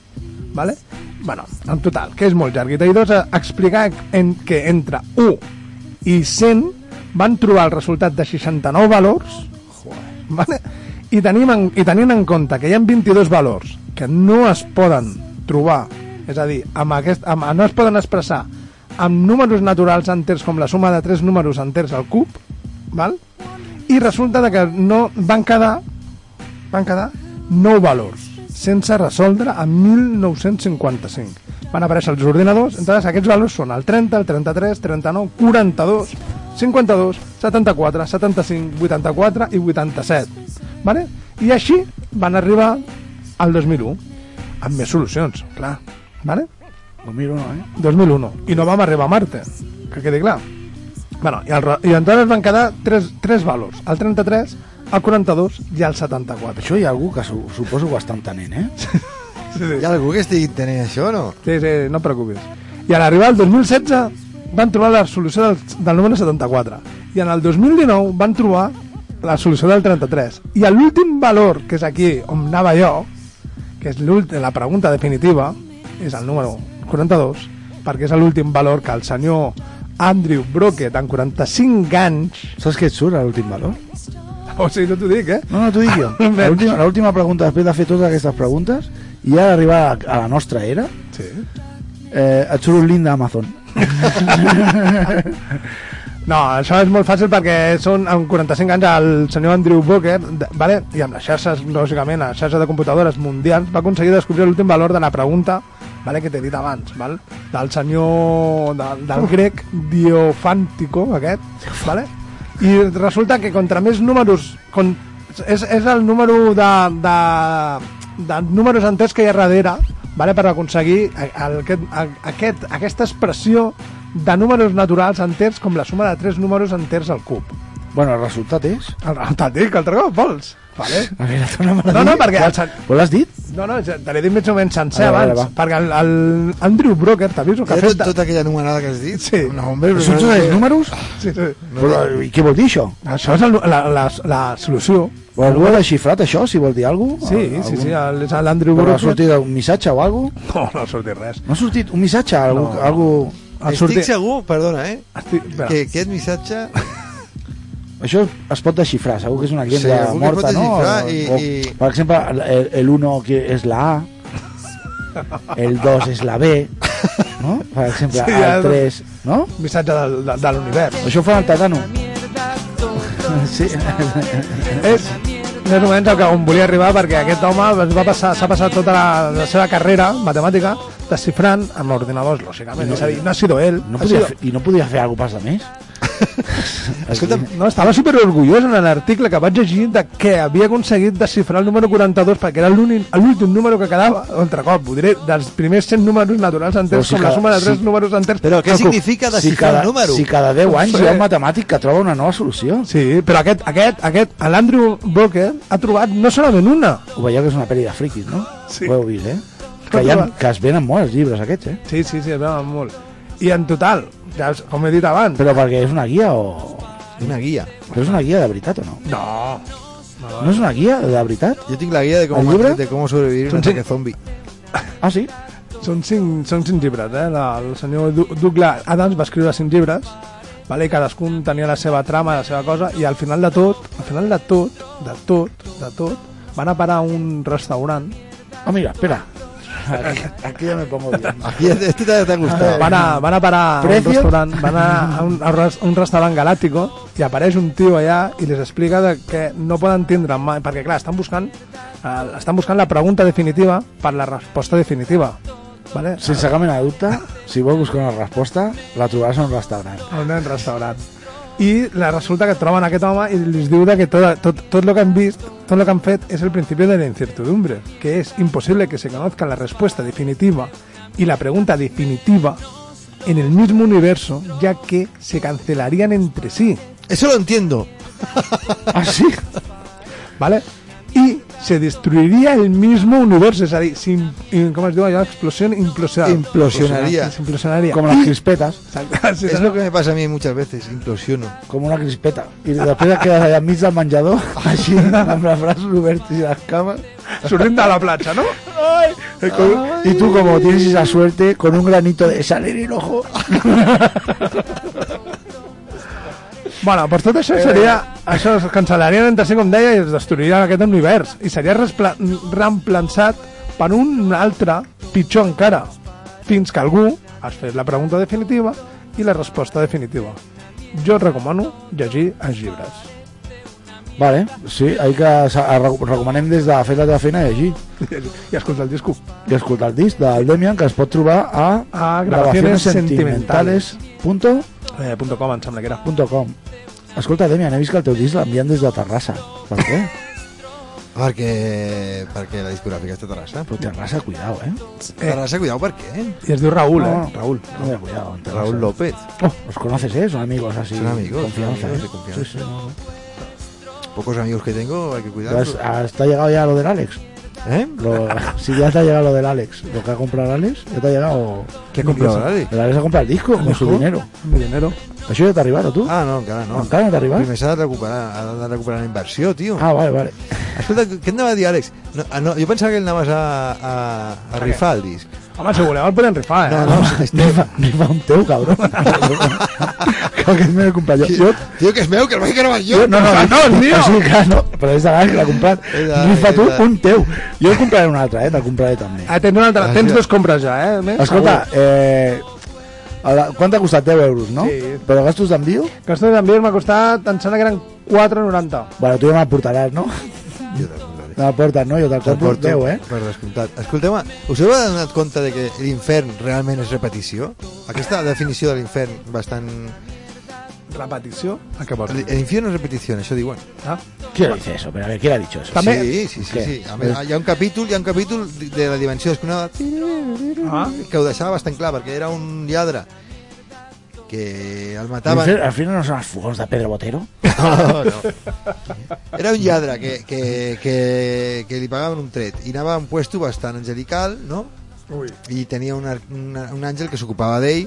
C: ¿vale? bueno, en total, que és molt llarguita. I dos, eh, explicar en, que entre 1 i 100 van trobar el resultat de 69 valors, ¿vale? I, tenim en, i tenint en compte que hi ha 22 valors que no es poden trobar, és a dir, amb aquest, amb, no es poden expressar amb números naturals enters com la suma de tres números enters al cub, val? i resulta de que no van quedar van quedar 9 valors sense resoldre en 1955 van aparèixer els ordinadors entonces aquests valors són el 30, el 33, 39 42, 52 74, 75, 84 i 87 vale? i així van arribar al 2001 amb més solucions, clar vale?
D: 2001, eh?
C: 2001 i no vam arribar a Marte que quedi clar Bueno, i, el, ro- i entonces van quedar tres, tres valors, el 33, el 42 i el 74.
D: Això hi ha algú que su, suposo que està entenent, eh?
C: Sí, sí.
A: Hi ha algú que estigui tenint això, no?
C: Sí, sí, no et preocupis. I a l'arribar al 2016 van trobar la solució del, del número 74. I en el 2019 van trobar la solució del 33. I a l'últim valor, que és aquí on anava jo, que és l'últim- la pregunta definitiva, és el número 42, perquè és l'últim valor que el senyor Andrew Brockett, en 45 anys...
D: Saps què et surt, a l'últim valor?
C: O sigui, no t'ho dic, eh?
D: No, no, t'ho dic jo.
C: Bé.
D: L'última- L'última pregunta, després de fer totes aquestes preguntes, i ja d'arribar a, la- a la nostra era,
C: Sí.
D: eh, et surt un link d'Amazon.
C: No, això és molt fàcil perquè són amb 45 anys el senyor Andrew Booker de- vale? i amb les xarxes, lògicament, les xarxes de computadores mundials va aconseguir descobrir l'últim valor de la pregunta vale, que t'he dit abans val? del senyor, del, del grec Diofàntico aquest vale? i resulta que contra més números con, és, és el número de, de, de números enters que hi ha darrere vale, per aconseguir a- el, aquest, a- aquest, aquesta expressió de números naturals enters com la suma de tres números enters al cub.
D: Bueno, el resultat és...
C: El resultat dic, altre cop, vols? Vale.
D: A veure, torna'm a
C: No, Pues no, perquè... El, sen-
D: Ho l'has ¿Pues dit?
C: no, no, ja te l'he dit més o menys sencer
D: Vale, vale,
C: abans, perquè el, el Andrew Broker, t'aviso que
A: Ja
C: ha
A: tot,
C: fet...
A: tota aquella numerada que has dit?
C: Sí.
A: No, hombre,
D: Són
A: no-
D: tots els números?
C: Sí, sí.
D: Però, I què vol dir això?
C: Això és el, la, la, la solució.
D: O algú ha desxifrat això, si vol dir alguna cosa?
C: Sí, sí, sí, el- és l'Andrew
D: Però ha
C: Broker.
D: sortit un missatge o alguna cosa?
C: No, no ha sortit res.
D: No ha sortit un missatge? Algú,
C: No.
D: algú... Ah,
C: Ha
A: Estic
C: sortit...
A: segur, perdona, eh?
C: Estic... espera.
A: Que aquest missatge...
D: Això es pot desxifrar, segur que és una
A: Sí,
D: llengua
A: algú que
D: morta,
A: pot
D: no?
A: desxifrar
D: O-
A: i-
D: o,
A: i-
D: Per exemple, el- el 1 que és la A, el 2 és la B, no? Per exemple,
C: Sí, ja-
D: el 3, no?
C: Missatge del, de, de l'univers.
D: Això ho fa el Tatano. Sí.
C: és més o menys el que on volia arribar perquè aquest home es va passar- s'ha passat tota la, la seva carrera matemàtica desxifrant amb ordinadors, lògicament. És a dir, no ha sido ell.
D: No
C: ha
D: podia,
C: sido-
D: fer- I no podia fer alguna cosa més?
A: Escolta'm,
C: No, estava super orgullós en l'article que vaig llegir de que havia aconseguit desxifrar el número 42 perquè era l'únic- l'últim número que quedava, altre cop, ho diré, dels primers 100 números naturals enters,
D: O sigui
C: com la
D: que-
C: suma de 3
D: sí.
C: números enters.
A: Però què
C: al cub.
A: significa
D: si
A: desxifrar
D: cada,
A: el número?
D: si cada 10 anys
C: Sí.
D: hi ha un matemàtic que troba una nova solució.
C: Sí, però aquest, aquest, aquest, l'Andrew Broker ha trobat no solament una.
D: Ho veieu que és una pel·li de friquis, no?
C: Sí.
D: Ho heu vist, eh? Que, hi ha, que es venen molt els llibres aquests, eh?
C: Sí, sí, sí, es veuen molt. I en total, ja, us- com he dit abans,
D: Però perquè és una guia o...
A: Una guia.
D: Però és una guia de veritat o no?
C: No.
D: No és una guia de veritat?
A: Jo tinc la guia de com,
D: El llibre?
A: de com sobrevivir a un
C: Sí.
A: ataque zombi.
D: Ah, sí?
C: Són cinc, són cinc llibres, eh? La, el senyor Du- Douglas Adams va escriure cinc llibres, vale? i cadascun tenia la seva trama, la seva cosa, i al final de tot, al final de tot, de tot, de tot, van a parar a un restaurant,
D: Ah, mira, espera. Aquí, aquí ya me pongo bien.
A: Aquí, este te, te ha gustado.
C: van a, van a parar a un
D: Precio?
C: restaurant, van a, a, un, a un res- un restaurant galàctico, i apareix un tio allà i les explica de que no poden tindre mai, perquè clar, estan buscant, eh, estan buscant la pregunta definitiva per la resposta definitiva. Vale?
D: Sense cap mena de dubte, si vols buscar una resposta, la trobaràs en un restaurant.
C: a un nen restaurant i la resulta que troben aquest home i els diu de que tot, tot, tot lo que han vist tot lo que han fet és el principi de la incertidumbre que és imposible que se conozca la respuesta definitiva y la pregunta definitiva en el mismo universo ya que se cancelarían entre sí
A: Eso lo entiendo.
D: Ah, sí?
C: ¿vale? Y se destruiría el mismo universo, es a dir, s'im- i- com es diu allò? Explosió implosional.
A: Implosionaria.
C: Implosionaria.
A: Como las crispetas.
C: Sí,
A: es lo que me pasa a mí muchas veces, implosiono.
D: Como una crispeta. I després et quedes allà enmig del menjador, així, amb els braços oberts i les cames.
C: Sortim de la platja, no? Ai,
D: Y tú, como tienes esa suerte, con un granito de sal en el ojo.
C: Bueno, per tot això
D: Eh.
C: seria... Això es cancel·laria entre si, com deia, i es destruiria aquest univers. I seria respla- reemplançat per un altre pitjor encara. Fins que algú has fet la pregunta definitiva i la resposta definitiva. Jo et recomano llegir els llibres.
D: Vale, sí, hay que sa- a- recomanem des de fer la teva feina i llegir.
C: I escolta el disco.
D: I escoltar el disc del Demian, que es pot trobar a,
C: A
D: gravacionessentimentales.com
C: Eh, punto com, em sembla que era.
D: Escolta, Demian, he vist que el teu disc l'envien des de Terrassa. Per què?
A: Perquè, perquè la discogràfica és de Terrassa.
D: Però Terrassa, cuidao, Pues, eh?
A: Terrassa, cuidao, per què?
C: I es diu Raül,
D: No,
C: eh? Raül.
D: No, no, cuidado. en Terrassa.
A: Raúl López.
D: Oh, los conoces, eh? Son amigos así.
A: Son amigos,
D: Confianza,
A: son amigos
D: eh.
A: de confianza.
D: Sí, sí, no, no.
A: Pocos amigos que tengo, hay que
D: Pero es-
A: cuidarlos.
D: ¿Hasta ha llegado ya lo del Alex?
A: ¿Eh?
D: Lo- si ya te ha llegado lo del Alex, lo que ha comprado Alex, ya te ha llegado.
A: ¿Qué ha comprado el Alex?
D: El Alex ha comprado el disco con su dinero.
C: Mi dinero.
D: ¿Això ya te ha arribado tú?
A: Ah, no, encara no.
D: Encara no t'ha arribat?
A: Primer s'ha de recuperar, ha de recuperar la inversió, tio.
D: Ah, vale, vale.
A: Escolta, què et anava a dir, Àlex? No, ah, no, jo pensava que anaves a, a, a rifar el disc.
C: Home, si voleu el podem rifar,
D: Ah,
C: eh?
A: No, no,
D: Rifa, rifa un teu, cabrón. Creo que es mío el comprat jo. Jo-
A: Tio, que és meu, que el vaig gravar jo.
D: no, no,
C: no, és meu.
D: sí, clar, ah, no, però és de l'Àlex que l'ha comprat.
A: És de l'Àlex,
D: Rifa
A: és
D: tu
A: de-
D: un teu. Jo en compraré un altre, eh? Te'l compraré també.
C: Ah, tens, una altra, tens dos compres ja, eh?
A: Ah,
C: Més?
D: Escolta, eh, a la- quant t'ha costat? 10 euros, no?
C: Sí.
D: Però gastos d'envio?
C: Que estos envios m'ha costat, em sembla que eren 4,90.
D: Bueno, tu ja me'l portaràs, no?
A: Jo te'l portaré.
D: Me la portes, no? Jo te'l
A: Te'l
D: compro 10, eh?
A: Per descomptat. Escolteu, us heu adonat compte de que l'infern realment és repetició? Aquesta definició de l'infern bastant...
C: Repetició?
A: Ah,
C: A què vols?
A: L'infern és repetició, això diuen.
C: Ah?
D: ¿Quién dice eso? Pero a ver, ¿quién ha dicho eso?
C: També-
A: Sí, sí, sí,
D: Què?
A: sí. A més, hi ha un capítol, hi ha un capítol de la dimensió desconeguda
C: Ah?
A: que ho deixava bastant clar, perquè era un lladre que el
D: Al
A: mataven...
D: fin- al final no son las fugas de Pedro Botero.
A: No, no. Era un lladre que, que, que, que li pagaven un tret i anava a un puesto bastant angelical, no?
C: Ui.
A: I tenia un, ar- una, un àngel que s'ocupava d'ell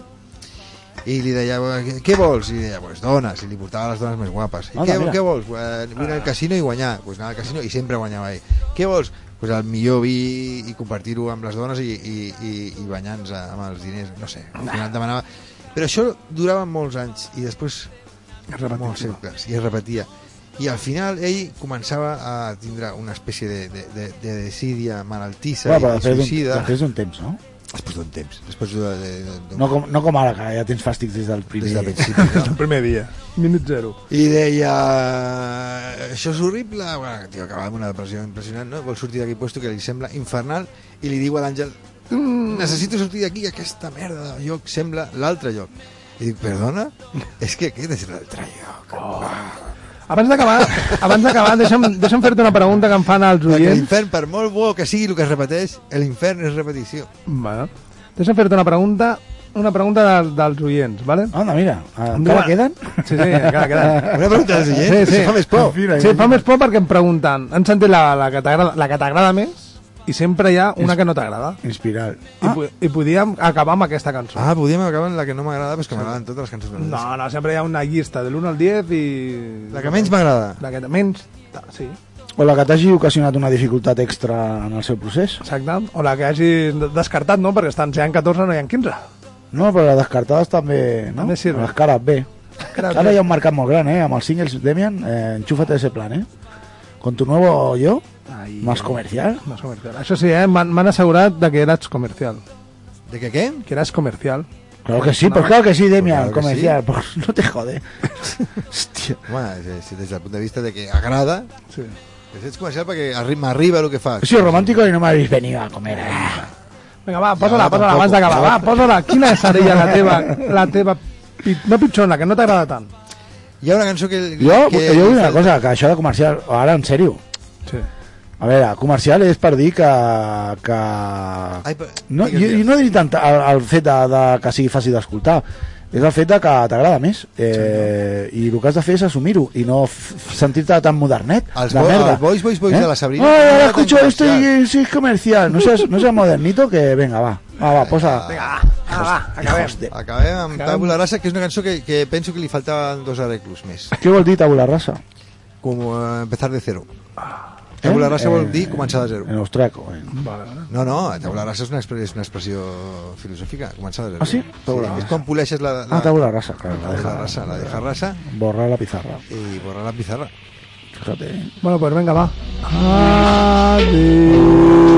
A: i li deia, "Què- què vols? I deia, pues dones, i li portava les dones més guapes. I
D: Anda,
A: què,
D: mira.
A: què vols? Eh, Vull anar al casino i guanyar. Pues anar al casino i sempre guanyava ell. Què vols? Pues el millor vi i compartir-ho amb les dones i, i, i, i banyar-nos amb els diners. No sé, al final demanava... Però això durava molts anys i després molts
C: Repetició.
A: cercles i es repetia i al final ell començava a tindre una espècie de, de, de, de desídia malaltissa
D: Bueno, però
A: bueno, i
D: després d'un
A: suïcida
D: després d'un temps, no?
A: després d'un temps després de, de, de, de,
D: No eh. com, no com ara, que ja tens fàstic des del primer.
A: des del principi no?
C: El primer dia. Minut zero.
A: i deia això és horrible bueno, tio, acabava amb una depressió impressionant no? vol sortir d'aquell puesto que li sembla infernal i li diu a l'Àngel "Mm, necessito sortir d'aquí aquesta merda de lloc sembla l'altre lloc i dic, perdona? És que aquest és l'altre lloc.
C: Abans d'acabar, abans d'acabar, deixa'm, deixa'm fer-te una pregunta que em fan els
A: Perquè
C: oients.
A: l'infern, per molt bo que sigui el que es repeteix, l'infern és repetició.
C: Bueno. Deixa'm fer-te una pregunta, una pregunta de, dels oients, vale?
A: Ah,
D: Anda, mira, encara
C: Endavant.
D: queden?
C: Sí, sí, encara queden.
A: Una pregunta dels
C: Sí,
A: oients,
C: sí.
A: sí, fa més por.
D: Mira,
C: Sí,
D: mira.
C: fa més por perquè em pregunten, han sentit la, la que t'agrada la que t'agrada més i sempre hi ha una que no t'agrada.
D: Inspiral.
C: I, po I podíem acabar amb aquesta cançó.
A: Ah, podíem acabar amb la que no m'agrada, però és que m'agraden totes les cançons.
C: No,
A: No.
C: no, sempre hi ha una llista de l'1 al 10 i...
A: La que menys m'agrada.
C: La que menys... ta- Sí,
D: O la que t'hagi ocasionat una dificultat extra en el seu procés.
C: exacte. O la que hagis descartat, no? Perquè estan, si hi ha 14, no hi ha 15.
D: No, però les descartades també, no?
C: També sirve.
D: Les cares bé.
C: Cares
D: Ara
C: bé.
D: hi ha un mercat molt gran, eh? Amb els singles, Demian, eh, enxúfate ese plan, eh? Con tu nuevo yo,
C: Ai,
D: más comercial.
C: no és comercial. Això sí, eh? M'han m'han assegurat de que eres comercial.
A: De que què?
C: Que eres comercial.
D: Claro que sí, pues claro que sí, Demian,
A: Pues claro que
D: comercial. Pues no te jode. Hòstia.
A: Home, si- si des del punt de vista de que agrada,
C: Sí.
A: doncs ets comercial perquè arri- m'arriba el que
D: He
A: fas.
D: sido romántico y no me habéis venido a comer. eh.
C: Vinga, va,
A: Ja,
C: posa-la, posa-la,
A: tampoc.
C: abans d'acabar. Va, posa-la. Quina seria la teva... La teva pit- no pitjorna, que no t'agrada tant.
A: Hi ha una cançó que...
D: Jo,
A: que,
D: jo vull dir una cosa, que això de comercial, ara, en sèrio,
C: Sí.
D: a veure, comercial és per dir que... que...
A: Ai, però,
D: No,
A: digues,
D: jo, jo
A: digues.
D: no diria tant el, el fet de, de que sigui fàcil d'escoltar és el fet de que t'agrada més eh, i el que has de fer és assumir-ho i no f- f- sentir-te tan modernet
A: Els
D: de
A: bo-
D: merda.
A: els boys, boys, boys de la Sabrina.
D: Ay, ahora
A: Tan
D: escucho esto y eh, sí, es comercial no seas, no seas modernito que venga va va, va posa
A: Acabem. Acabem amb Tabula Rasa, que és una cançó que, que penso que li faltaven dos arreglos més.
D: què vol dir tabula rasa?
A: Com eh, empezar de cero. Tabula Rasa vol dir començar de zero.
D: Eh? en austriaco eh.
A: No, no, tabula rasa és una, expre- és una expressió filosòfica, començar de zero.
D: Ah, sí? Tabula
A: és
D: rasa.
A: quan poleixes la... la
D: ah tabula rasa claro,
A: La deja rasa, la deja rasa
D: borrar la pizarra
A: i borrar la pizarra.
D: fíjate eh.
C: Bueno, pues venga, va. Adiós.